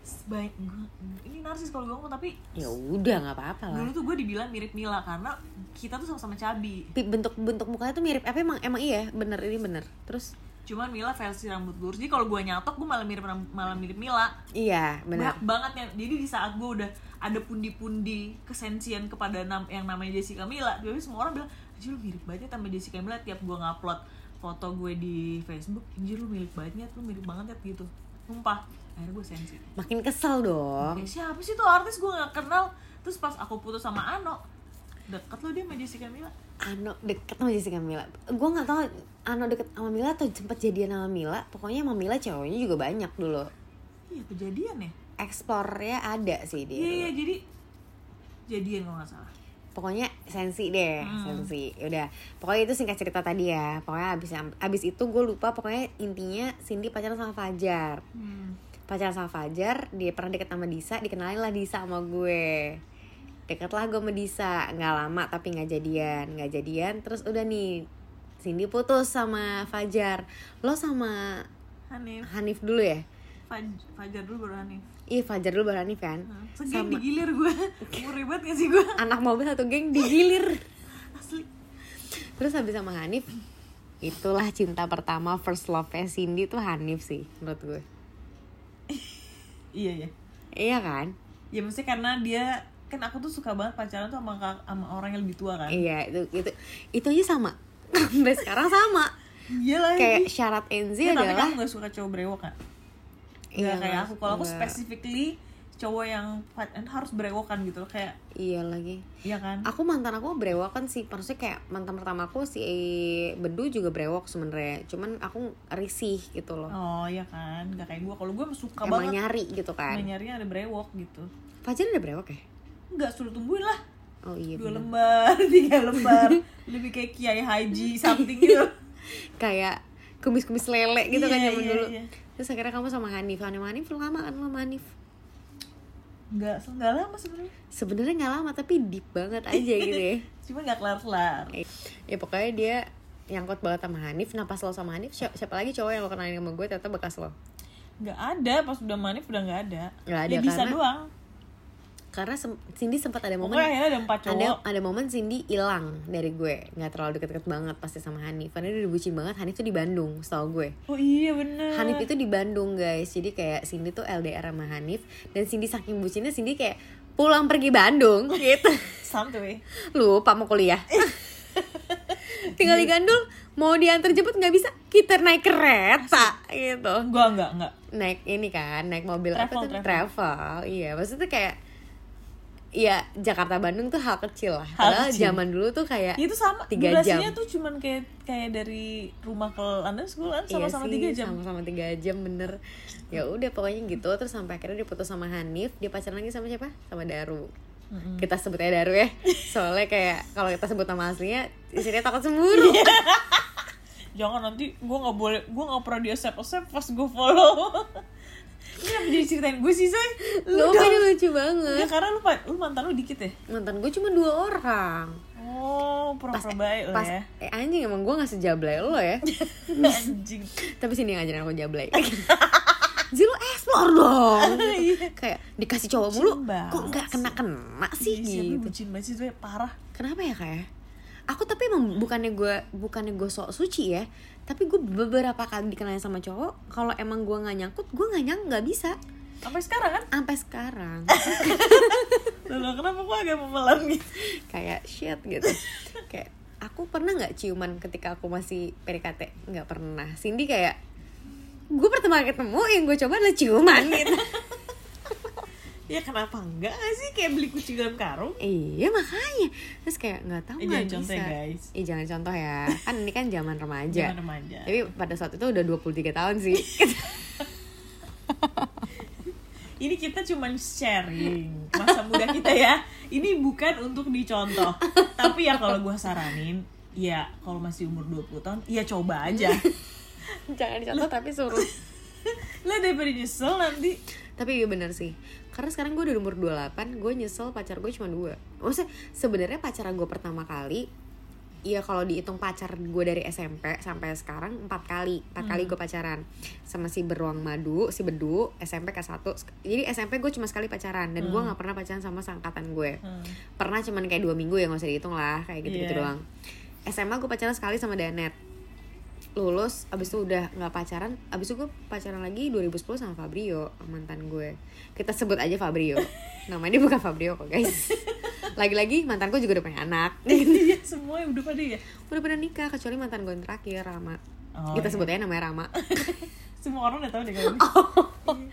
sebaik gua- ini narsis kalau gue ngomong tapi ya udah nggak apa-apa lah dulu tuh gue dibilang mirip Mila karena kita tuh sama-sama cabi Tapi bentuk-bentuk mukanya tuh mirip apa emang emang iya bener ini bener terus cuman Mila versi rambut lurus jadi kalau gue nyatok gue malah mirip ram- malah mirip Mila iya bener banyak banget ya jadi di saat gue udah ada pundi-pundi kesensian kepada nam yang namanya Jessica Mila tapi semua orang bilang anjir lu mirip banget ya sama Jessica Mila tiap gue ngupload foto gue di Facebook anjir lu mirip banget ya lu mirip banget ya gitu sumpah akhirnya gue sensi makin kesel dong Eh, siapa sih tuh artis gue gak kenal terus pas aku putus sama Ano deket lo dia sama Jessica Mila Ano deket sama Jessica Mila gue nggak tahu Ano deket sama Mila atau sempet jadian sama Mila pokoknya sama Mila cowoknya juga banyak dulu iya kejadian ya explore-nya ada sih dia iya iya dulu. jadi jadian kalau nggak salah pokoknya sensi deh sensi Ya udah pokoknya itu singkat cerita tadi ya pokoknya abis abis itu gue lupa pokoknya intinya Cindy pacaran sama Fajar pacaran sama Fajar dia pernah deket sama Disa dikenalin lah Disa sama gue deket lah gue sama Disa nggak lama tapi nggak jadian nggak jadian terus udah nih Cindy putus sama Fajar lo sama Hanif Hanif dulu ya Faj- Fajar dulu baru Hanif Ih Fajar dulu baru Hanif kan Segeng digilir [laughs] gue Murih banget gak sih gue anak mobil satu geng digilir Asli Terus habis sama Hanif Itulah cinta pertama first love-nya Cindy tuh Hanif sih menurut gue Iya ya Iya kan? Ya maksudnya karena dia Kan aku tuh suka banget pacaran tuh sama, kak- sama orang yang lebih tua kan Iya itu itu itu aja sama [laughs] Sampai sekarang sama Iya lagi Kayak syarat NZ Ya, Tapi adalah kamu gak suka cowok brewok kan? Iya, Iya kayak nggak- aku Kalau aku nggak. specifically cowok yang pa- harus brewokan gitu loh Kayak Iya lagi Iya kan? Aku mantan aku brewokan sih Maksudnya kayak mantan pertama aku si Bedu juga brewok sebenarnya Cuman aku risih gitu loh Oh iya kan? Gak kayak gue Kalau gue suka Emang banget nyari gitu kan Nyarinya ada brewok gitu Fajar udah brewok ya? Enggak suruh tumbuhin lah Oh iya Dua bener. lembar, [laughs] tiga [laughs] lembar Lebih kayak kiai haji something gitu Kayak kumis-kumis lele gitu kan Iya, zaman iya, dulu iya. Terus akhirnya kamu sama Hanif Sama Hanif lu lama kan lu sama Hanif Enggak, enggak lama sebenarnya sebenarnya nggak lama tapi deep banget aja gitu [laughs] ya cuma nggak kelar kelar ya pokoknya dia nyangkut banget sama Hanif nah pas lo sama Hanif siapa, siapa lagi cowok yang lo kenalin sama gue ternyata bekas lo nggak ada pas udah manif udah nggak ada Nggak ada, ya bisa karena doang karena sem- Cindy sempat ada momen pokoknya akhirnya ada empat ada cowok ada momen Cindy hilang dari gue nggak terlalu deket-deket banget pasti sama Hanif karena dia udah bucin banget Hanif tuh di Bandung setahu gue oh iya bener Hanif itu di Bandung guys jadi kayak Cindy tuh LDR sama Hanif dan Cindy saking bucinnya Cindy kayak pulang pergi [laughs] Bandung gitu santuy lupa [laughs] mau kuliah tinggal digandul mau diantar jemput nggak bisa kita naik kereta gitu gua nggak nggak naik ini kan naik mobil Travel, apa tuh travel. travel iya maksudnya kayak Iya, Jakarta Bandung tuh hal kecil lah. Hal Padahal kecil. zaman dulu tuh kayak Ya itu sama Tiga durasinya jam. tuh cuman kayak kayak dari rumah ke London school kan Iya sama-sama sih, tiga jam Sama-sama tiga jam bener. Ya udah pokoknya gitu terus sampai akhirnya dia putus sama Hanif, dia pacaran lagi sama siapa? Sama Daru. Kita sebut aja Daru [laughs] ya. Soalnya kayak kalau kita sebut nama aslinya istrinya takut semburu. Iya, jangan nanti gua nggak boleh gua nggak pernah di accept accept pas gua follow [laughs] ini apa jadi ceritain gue sih say Lu dong. kan ya lucu banget. karena lu, pa- lu mantan lu dikit ya Mantan gue cuma dua orang. oh pura-pura baik lah Pas [laughs] ya eh, anjing emang gue gak sejablay lo ya. anjing Tapi sini yang ngajarin aku jablay. [laughs] Jadi lu explore [laughs] dong. Iya. Gitu. Kayak dikasih cowok mulu Cembang. kok nggak kena-kena Ih, sih Iya, siapa gitu. bucin banget sih itu ya, parah Kenapa ya kak ya? Aku tapi emang bukannya gue bukannya gue sok suci ya, tapi gue beberapa kali dikenalin sama cowok, kalau emang gue nggak nyangkut, gue nggak nyang nggak bisa sampai sekarang kan sampai sekarang Lalu kenapa gua agak memelan gitu? kayak shit gitu. Kayak aku pernah nggak ciuman ketika aku masih PDKT? Nggak pernah. Cindy kayak gue pertama kali ketemu yang gue coba adalah ciuman gitu. Ya kenapa enggak nggak sih kayak beli kucing dalam karung? iya makanya terus kayak nggak tahu Eh, nggak jangan contoh bisa. ya, guys. Eh, jangan contoh ya. Kan ini kan zaman remaja. Jangan remaja. Tapi pada saat itu udah 23 tahun [laughs] sih. Ini kita cuman sharing masa muda kita ya. Ini bukan untuk dicontoh. Tapi ya kalau gua saranin, ya kalau masih umur 20 tahun, ya coba aja. jangan dicontoh tapi suruh Lah daripada nyesel nanti. tapi iya bener sih karena sekarang gue udah umur 28 gue nyesel pacar gue cuma dua maksudnya sebenarnya pacaran gue pertama kali Iya kalau dihitung pacar gue dari SMP sampai sekarang empat kali empat kali Hmm. gue pacaran sama si beruang madu si bedu SMP kelas 1 jadi SMP gue cuma sekali pacaran dan Hmm. gue nggak pernah pacaran sama sangkatan gue pernah cuman kayak dua minggu ya nggak usah dihitung lah kayak gitu gitu Iya. doang SMA gue pacaran sekali sama Danet lulus abis itu udah nggak pacaran abis itu gue pacaran lagi 2010 sama Fabrio mantan gue kita sebut aja Fabrio namanya bukan Fabrio kok guys lagi-lagi mantan gue juga udah punya anak Iya, semua udah pada ya. udah pernah nikah kecuali mantan gue yang terakhir Rama Oh, kita Oh. iya. sebut aja namanya Rama Semua orang udah tahu deh kalau ini.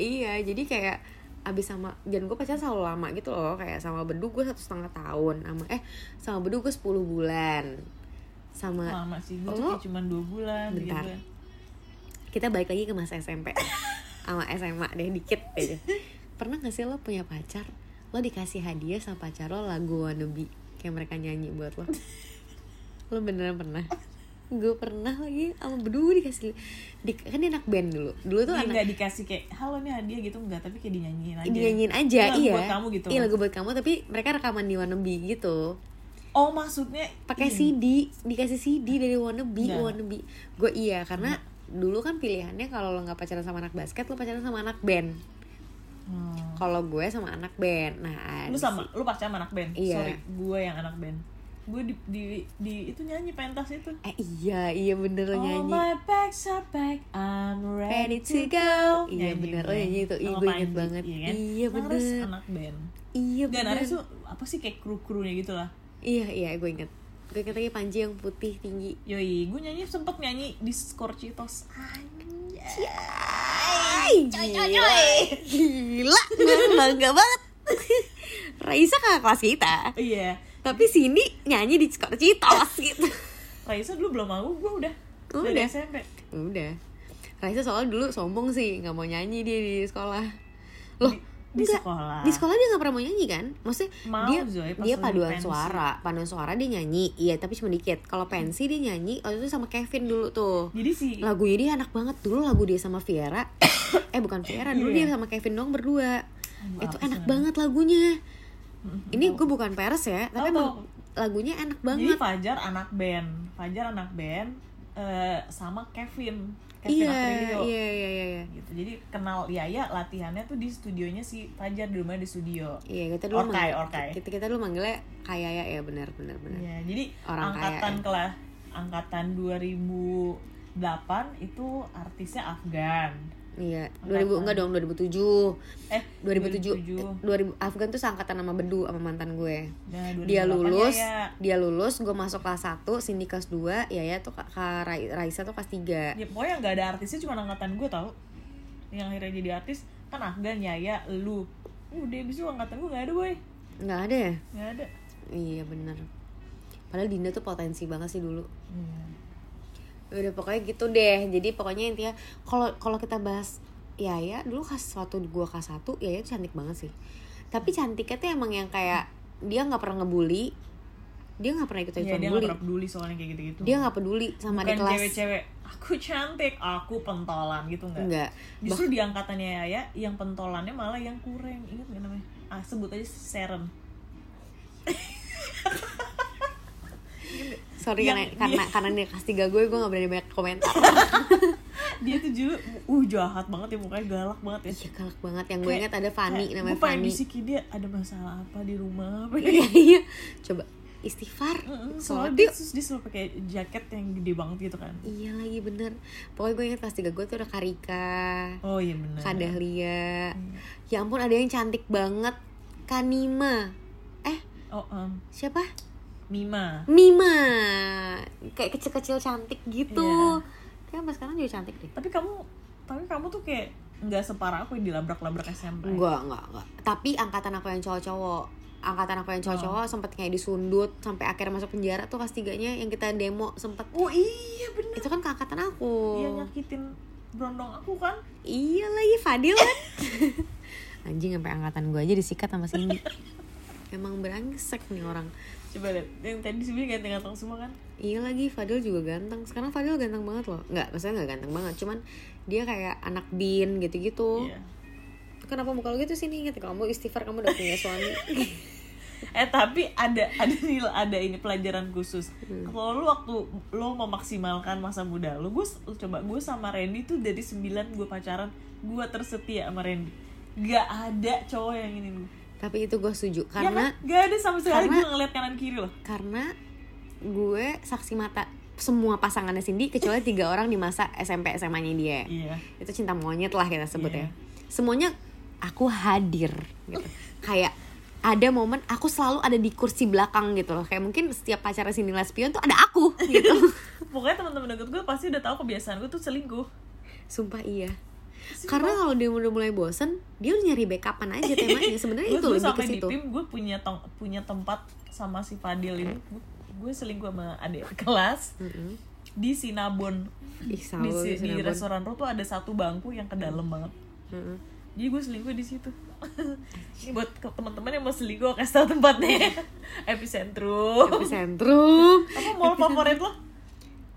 iya jadi kayak abis sama dan gue pacaran selalu lama gitu loh kayak sama bedu gue satu setengah tahun sama eh sama bedu gue 10 bulan sama Lama sih, gue Lo- tuh cuma 2 bulan Oh. Bentar. gitu. kita balik lagi ke masa SMP sama SMA deh dikit aja pernah gak sih lo punya pacar lo dikasih hadiah sama pacar lo lagu wannabe kayak mereka nyanyi buat lo lo beneran pernah gue pernah lagi sama berdua dikasih di, kan dia anak band dulu dulu tuh Dia anak nggak dikasih kayak halo nih hadiah gitu enggak, tapi kayak dinyanyiin aja. dinyanyiin aja Ini lagu iya buat kamu gitu. iya lagu buat kamu tapi mereka rekaman di wannabe gitu Oh, maksudnya pakai ini. CD dikasih CD dari wannabe Enggak. wannabe gue iya karena dulu kan pilihannya kalau lo nggak pacaran sama anak basket lo pacaran sama anak band Hmm. kalau gue sama anak band nah Lu sama, lu pasti sama anak band. Iya. Sorry, gue yang anak band. Gue di, di, di itu nyanyi pentas itu. eh iya iya bener All lo nyanyi Oh my bags are back, I'm ready ready to to go iya Nyanyi bener lo gue. nyanyi itu iya Sama gue inget Panji, banget Iya, iya, kan? Nah, bener Aris anak band. iya Dan bener Aris tuh apa sih kayak kru-krunya gitu lah. iya iya gue inget gue inget lagi Panji yang putih tinggi Yoi, gue nyanyi sempet nyanyi di Scorchitos. Anjay. Ay, gila, gila, gue bangga banget. Raisa kakak kelas kita, Iya. tapi Cindy nyanyi di skor Citos gitu. Raisa dulu belum mau, gue udah. Dari Udah. SMP. Udah, Raisa soalnya dulu sombong sih, nggak mau nyanyi dia di sekolah. Loh, Di enggak. sekolah. Di sekolah dia nggak pernah mau nyanyi kan? Maksudnya Mau, dia Zoe, pas dia lagi paduan pensi. suara, paduan suara dia nyanyi, iya tapi cuma dikit. Kalau pensi dia nyanyi, waktu itu sama Kevin dulu tuh. Jadi si Lagunya dia enak banget dulu lagu dia sama Viera. [coughs] eh bukan Viera, dulu Iya. dia sama Kevin dong berdua. Aduh, itu apa sih enak namanya? banget lagunya. Ini gue bukan peres ya, tapi Tahu, emang tahu. lagunya enak Jadi banget. Fajar anak band. Fajar anak band eh, sama Kevin. Kevin Iya, Aprilio. iya, iya, iya, iya. Gitu. Jadi kenal Yaya latihannya tuh di studionya si Fajar di rumahnya di studio. Iya, kita dulu Orkai, manggil- orkai. Kita, kita dulu manggilnya kayak ya, ya benar benar benar. Iya, jadi Orang kaya, angkatan ya. kelas angkatan 2008 itu artisnya Afgan. Iya, kan? 2000 enggak dong 2007. Eh, 2007, 2000 Afgan tuh seangkatan sama Bedu sama mantan gue. Nah, 2008 dia lulus, Yaya. dia lulus, gue masuk kelas 1, Cindy kelas 2, Yaya tuh Kak Kak Rai- Raisa tuh kelas 3. Ya, pokoknya nggak ada artisnya cuma angkatan gue tau Yang akhirnya jadi artis kan Afgan, Yaya, lu Udah abis itu angkatan gue nggak ada boy nggak ada ya? nggak ada Iya bener Padahal Dinda tuh potensi banget sih dulu Udah pokoknya gitu deh Jadi pokoknya intinya kalau kalau kita bahas Yaya dulu khas waktu gua kelas 1 Yaya tuh cantik banget sih Tapi cantiknya tuh emang yang kayak Dia nggak pernah ngebully Dia nggak pernah ikut Iya, dia ikutan nggak bully pernah peduli soalnya kayak gitu-gitu Dia nggak peduli sama di Bukan kelas cewek-cewek Aku cantik, aku pentolan gitu nggak Enggak Justru di angkatannya Yaya yang pentolannya malah yang kurang Ingat nggak namanya? Ah, sebut aja Seren [laughs] Sorry Yang- karena, karena, karena dia kelas 3 gue Gue nggak berani banyak komentar Dia tuh dulu, uh jahat banget ya mukanya galak banget ya Iya galak banget Yang gue ingat ada Fani Gue Namanya pengen Fani bisikin dia ada masalah apa di rumah apa Iya iya Coba istighfar Mm-mm, Sholat soalnya dia, yuk. terus dia selalu pakai jaket yang gede banget gitu kan Iya lagi bener Pokoknya gue inget kelas 3 gue tuh ada Karika oh iya benar Kak Dahlia Hmm. Ya ampun ada yang cantik banget Kanima Eh oh em, siapa? Mima Mima Kayak kecil-kecil cantik gitu Iya. Kayak sampai sekarang juga cantik deh tapi kamu tapi kamu tuh kayak nggak separah aku yang dilabrak-labrak SMP Enggak, enggak, enggak Tapi angkatan aku yang cowok-cowok Angkatan aku yang cowok-cowok Oh. sempet kayak disundut Sampai akhirnya masuk penjara tuh kelas 3 nya yang kita demo sempet oh iya bener Itu kan ke angkatan aku dia nyakitin berondong aku kan Iya lagi Fadil kan [laughs] Anjing sampai angkatan gue aja disikat sama [laughs] Cindy Emang berangsek nih orang coba lihat yang tadi sebenarnya ganteng-ganteng semua kan Iya lagi Fadil juga ganteng Sekarang Fadil ganteng banget loh Nggak, maksudnya nggak ganteng banget Cuman dia kayak anak bin gitu-gitu iya [laughs] Kenapa muka lo gitu sih nih? Ingat, kamu istighfar kamu udah punya suami eh tapi ada ada nilai ada ini pelajaran khusus Hmm. kalau lu waktu lu memaksimalkan masa muda lu gue coba gue sama Randy tuh dari 9 gue pacaran gue tersetia sama Randy gak ada cowok yang ingin gue [laughs] tapi itu gue setuju ya kan? karena gak ada sama sekali karena- gue ngeliat kanan kiri loh karena gue saksi mata semua pasangannya Cindy kecuali tiga orang di masa SMP SMA-nya dia iya itu cinta monyet lah kita sebut Iya. ya semuanya aku hadir gitu kayak ada momen aku selalu ada di kursi belakang gitu loh kayak mungkin setiap pacaran Cindy Lespion tuh ada aku [laughs] gitu pokoknya teman-teman deket gue pasti udah tahu kebiasaan gue tuh selingkuh sumpah iya karena kalau dia udah mulai bosen dia udah nyari backupan aja temanya sebenarnya gue Eh, itu gue lebih ke sampai di situ tim gue punya tong- punya tempat sama si Fadil ini gue, gue selingkuh sama adik kelas Mm-mm. di Sinabon Ih, di, sawah si- di lu, Sinabon. restoran Ro tuh ada satu bangku yang ke dalam banget Mm-mm. jadi gue selingkuh di situ Ini buat ke- teman-teman yang mau selingkuh gue kasih tau tempatnya [laughs] epicentrum Epicentrum apa mall favorit lo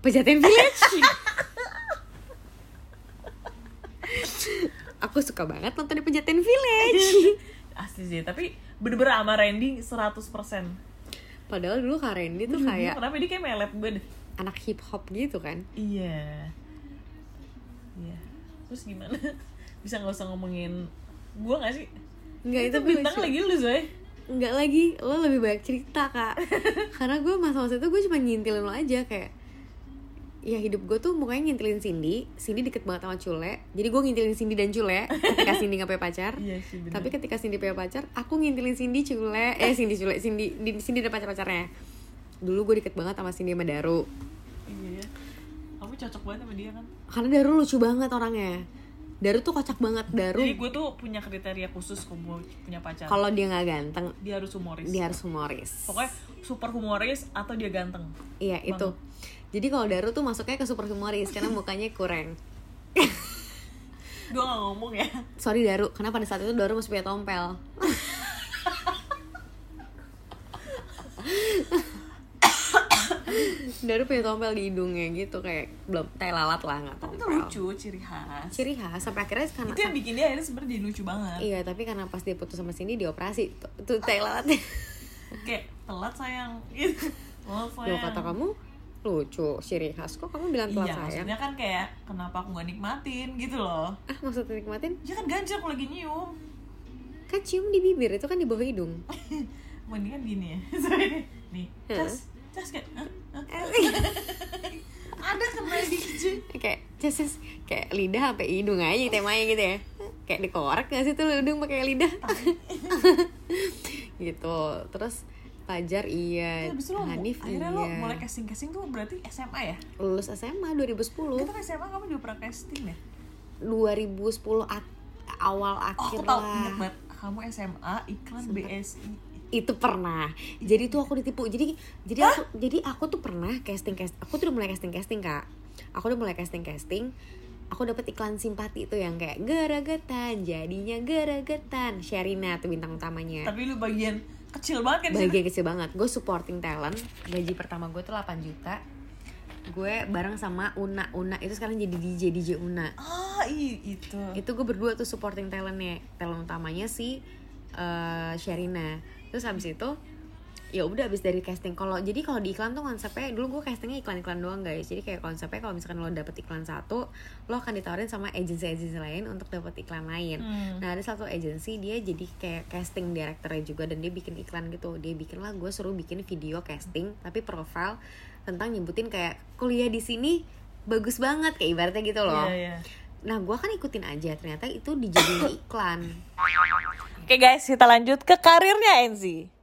Pejaten [laughs] Village Aku suka banget nonton di Pejaten [laughs] Village asli sih tapi bener-bener sama Randy 100% Padahal dulu Kak Randy Mm-hmm. tuh kayak kenapa dia kayak melet gue deh anak hip hop gitu kan Iya. Iya. Terus gimana? [laughs] Bisa nggak usah ngomongin gua nggak sih? Enggak itu, itu bintang lucu. lagi lu Zoe. Enggak lagi, lo lebih banyak cerita [laughs] kak Karena gue masa-masa itu gue cuma ngintilin lo aja kayak Ya hidup gue tuh mukanya ngintilin Cindy Cindy deket banget sama Cule Jadi gue ngintilin Cindy dan Cule [laughs] ketika Cindy gak punya pacar Iya sih benar. Tapi ketika Cindy punya pacar, aku ngintilin Cindy Cule Eh Cindy Cule, Cindy, di- Cindy ada pacar-pacarnya Dulu gue deket banget sama Cindy sama Daru iya. Kamu cocok banget sama dia kan? Karena Daru lucu banget orangnya Daru tuh kocak banget, Jadi Daru gue tuh punya kriteria khusus kalau mau punya pacar. kalau dia nggak ganteng, dia harus humoris. dia harus humoris Pokoknya super humoris atau dia ganteng. Iya itu. Jadi kalau Daru tuh masuknya ke super humoris karena mukanya kurang. Gua nggak ngomong ya. Sorry Daru, karena pada saat itu Daru masih punya [laughs] tompel. Daru punya tompel di hidungnya gitu kayak belum tai lalat lah nggak Tapi itu tompel. lucu ciri khas. Ciri khas sampai akhirnya karena Itu ya? yang bikin dia akhirnya sebenarnya jadi lucu banget. Iya, tapi karena pas dia putus sama Cindy dioperasi tuh, tuh tai lalatnya. Kayak telat sayang [laughs] gitu. Oh, Loh sayang. kata kamu lucu ciri khas kok kamu bilang telat Iya, sayang? maksudnya kan kayak kenapa aku gak nikmatin gitu loh. Ah, maksudnya nikmatin? Ya kan ganjel aku lagi nyium. [laughs] Kan cium di bibir itu kan di bawah hidung. Mendingan gini ya. [laughs] Sorry. Nih, cas. Cas kayak. "Hah? Hah?" Eh. [laughs] Ada kena di cuy. kayak ceses kayak lidah sampai hidung aja temanya gitu ya kayak dikorek nggak sih tuh hidung pakai lidah [laughs] gitu terus Fajar iya Habis itu lo Hanif akhirnya lo mulai iya casting-casting tuh berarti SMA ya? lulus SMA 2010 Kita kan SMA kamu juga pernah casting ya? 2010 ak- awal Oh, akhir aku tau, ingat lah banget. Kamu SMA iklan BSI. itu pernah jadi tuh aku ditipu jadi jadi aku jadi aku tuh pernah casting cast aku tuh udah mulai casting casting kak aku udah mulai casting casting aku dapat iklan simpati tuh yang kayak geragetan jadinya geragetan Sherina tuh bintang utamanya Tapi lu bagian kecil banget kan di bagian kecil banget gue supporting talent gaji pertama gue tuh 8 juta gue bareng sama Una Una itu sekarang jadi DJ DJ Una Ah, i, itu. itu gue berdua tuh supporting talentnya talent utamanya si eh, Sherina terus habis itu ya udah habis dari casting kalau jadi kalau di iklan tuh konsepnya dulu gue castingnya iklan-iklan doang guys jadi kayak konsepnya kalau misalkan lo dapet iklan satu lo akan ditawarin sama agensi-agensi lain untuk dapet iklan lain Hmm. nah ada satu agensi dia jadi kayak casting directornya juga dan dia bikin iklan gitu dia bikin lah gue suruh bikin video casting tapi profile tentang nyebutin kayak kuliah di sini bagus banget kayak ibaratnya gitu loh Iya, iya. Nah, gua kan ikutin aja. Ternyata itu dijadiin iklan. Oke guys, kita lanjut ke karirnya Enzi.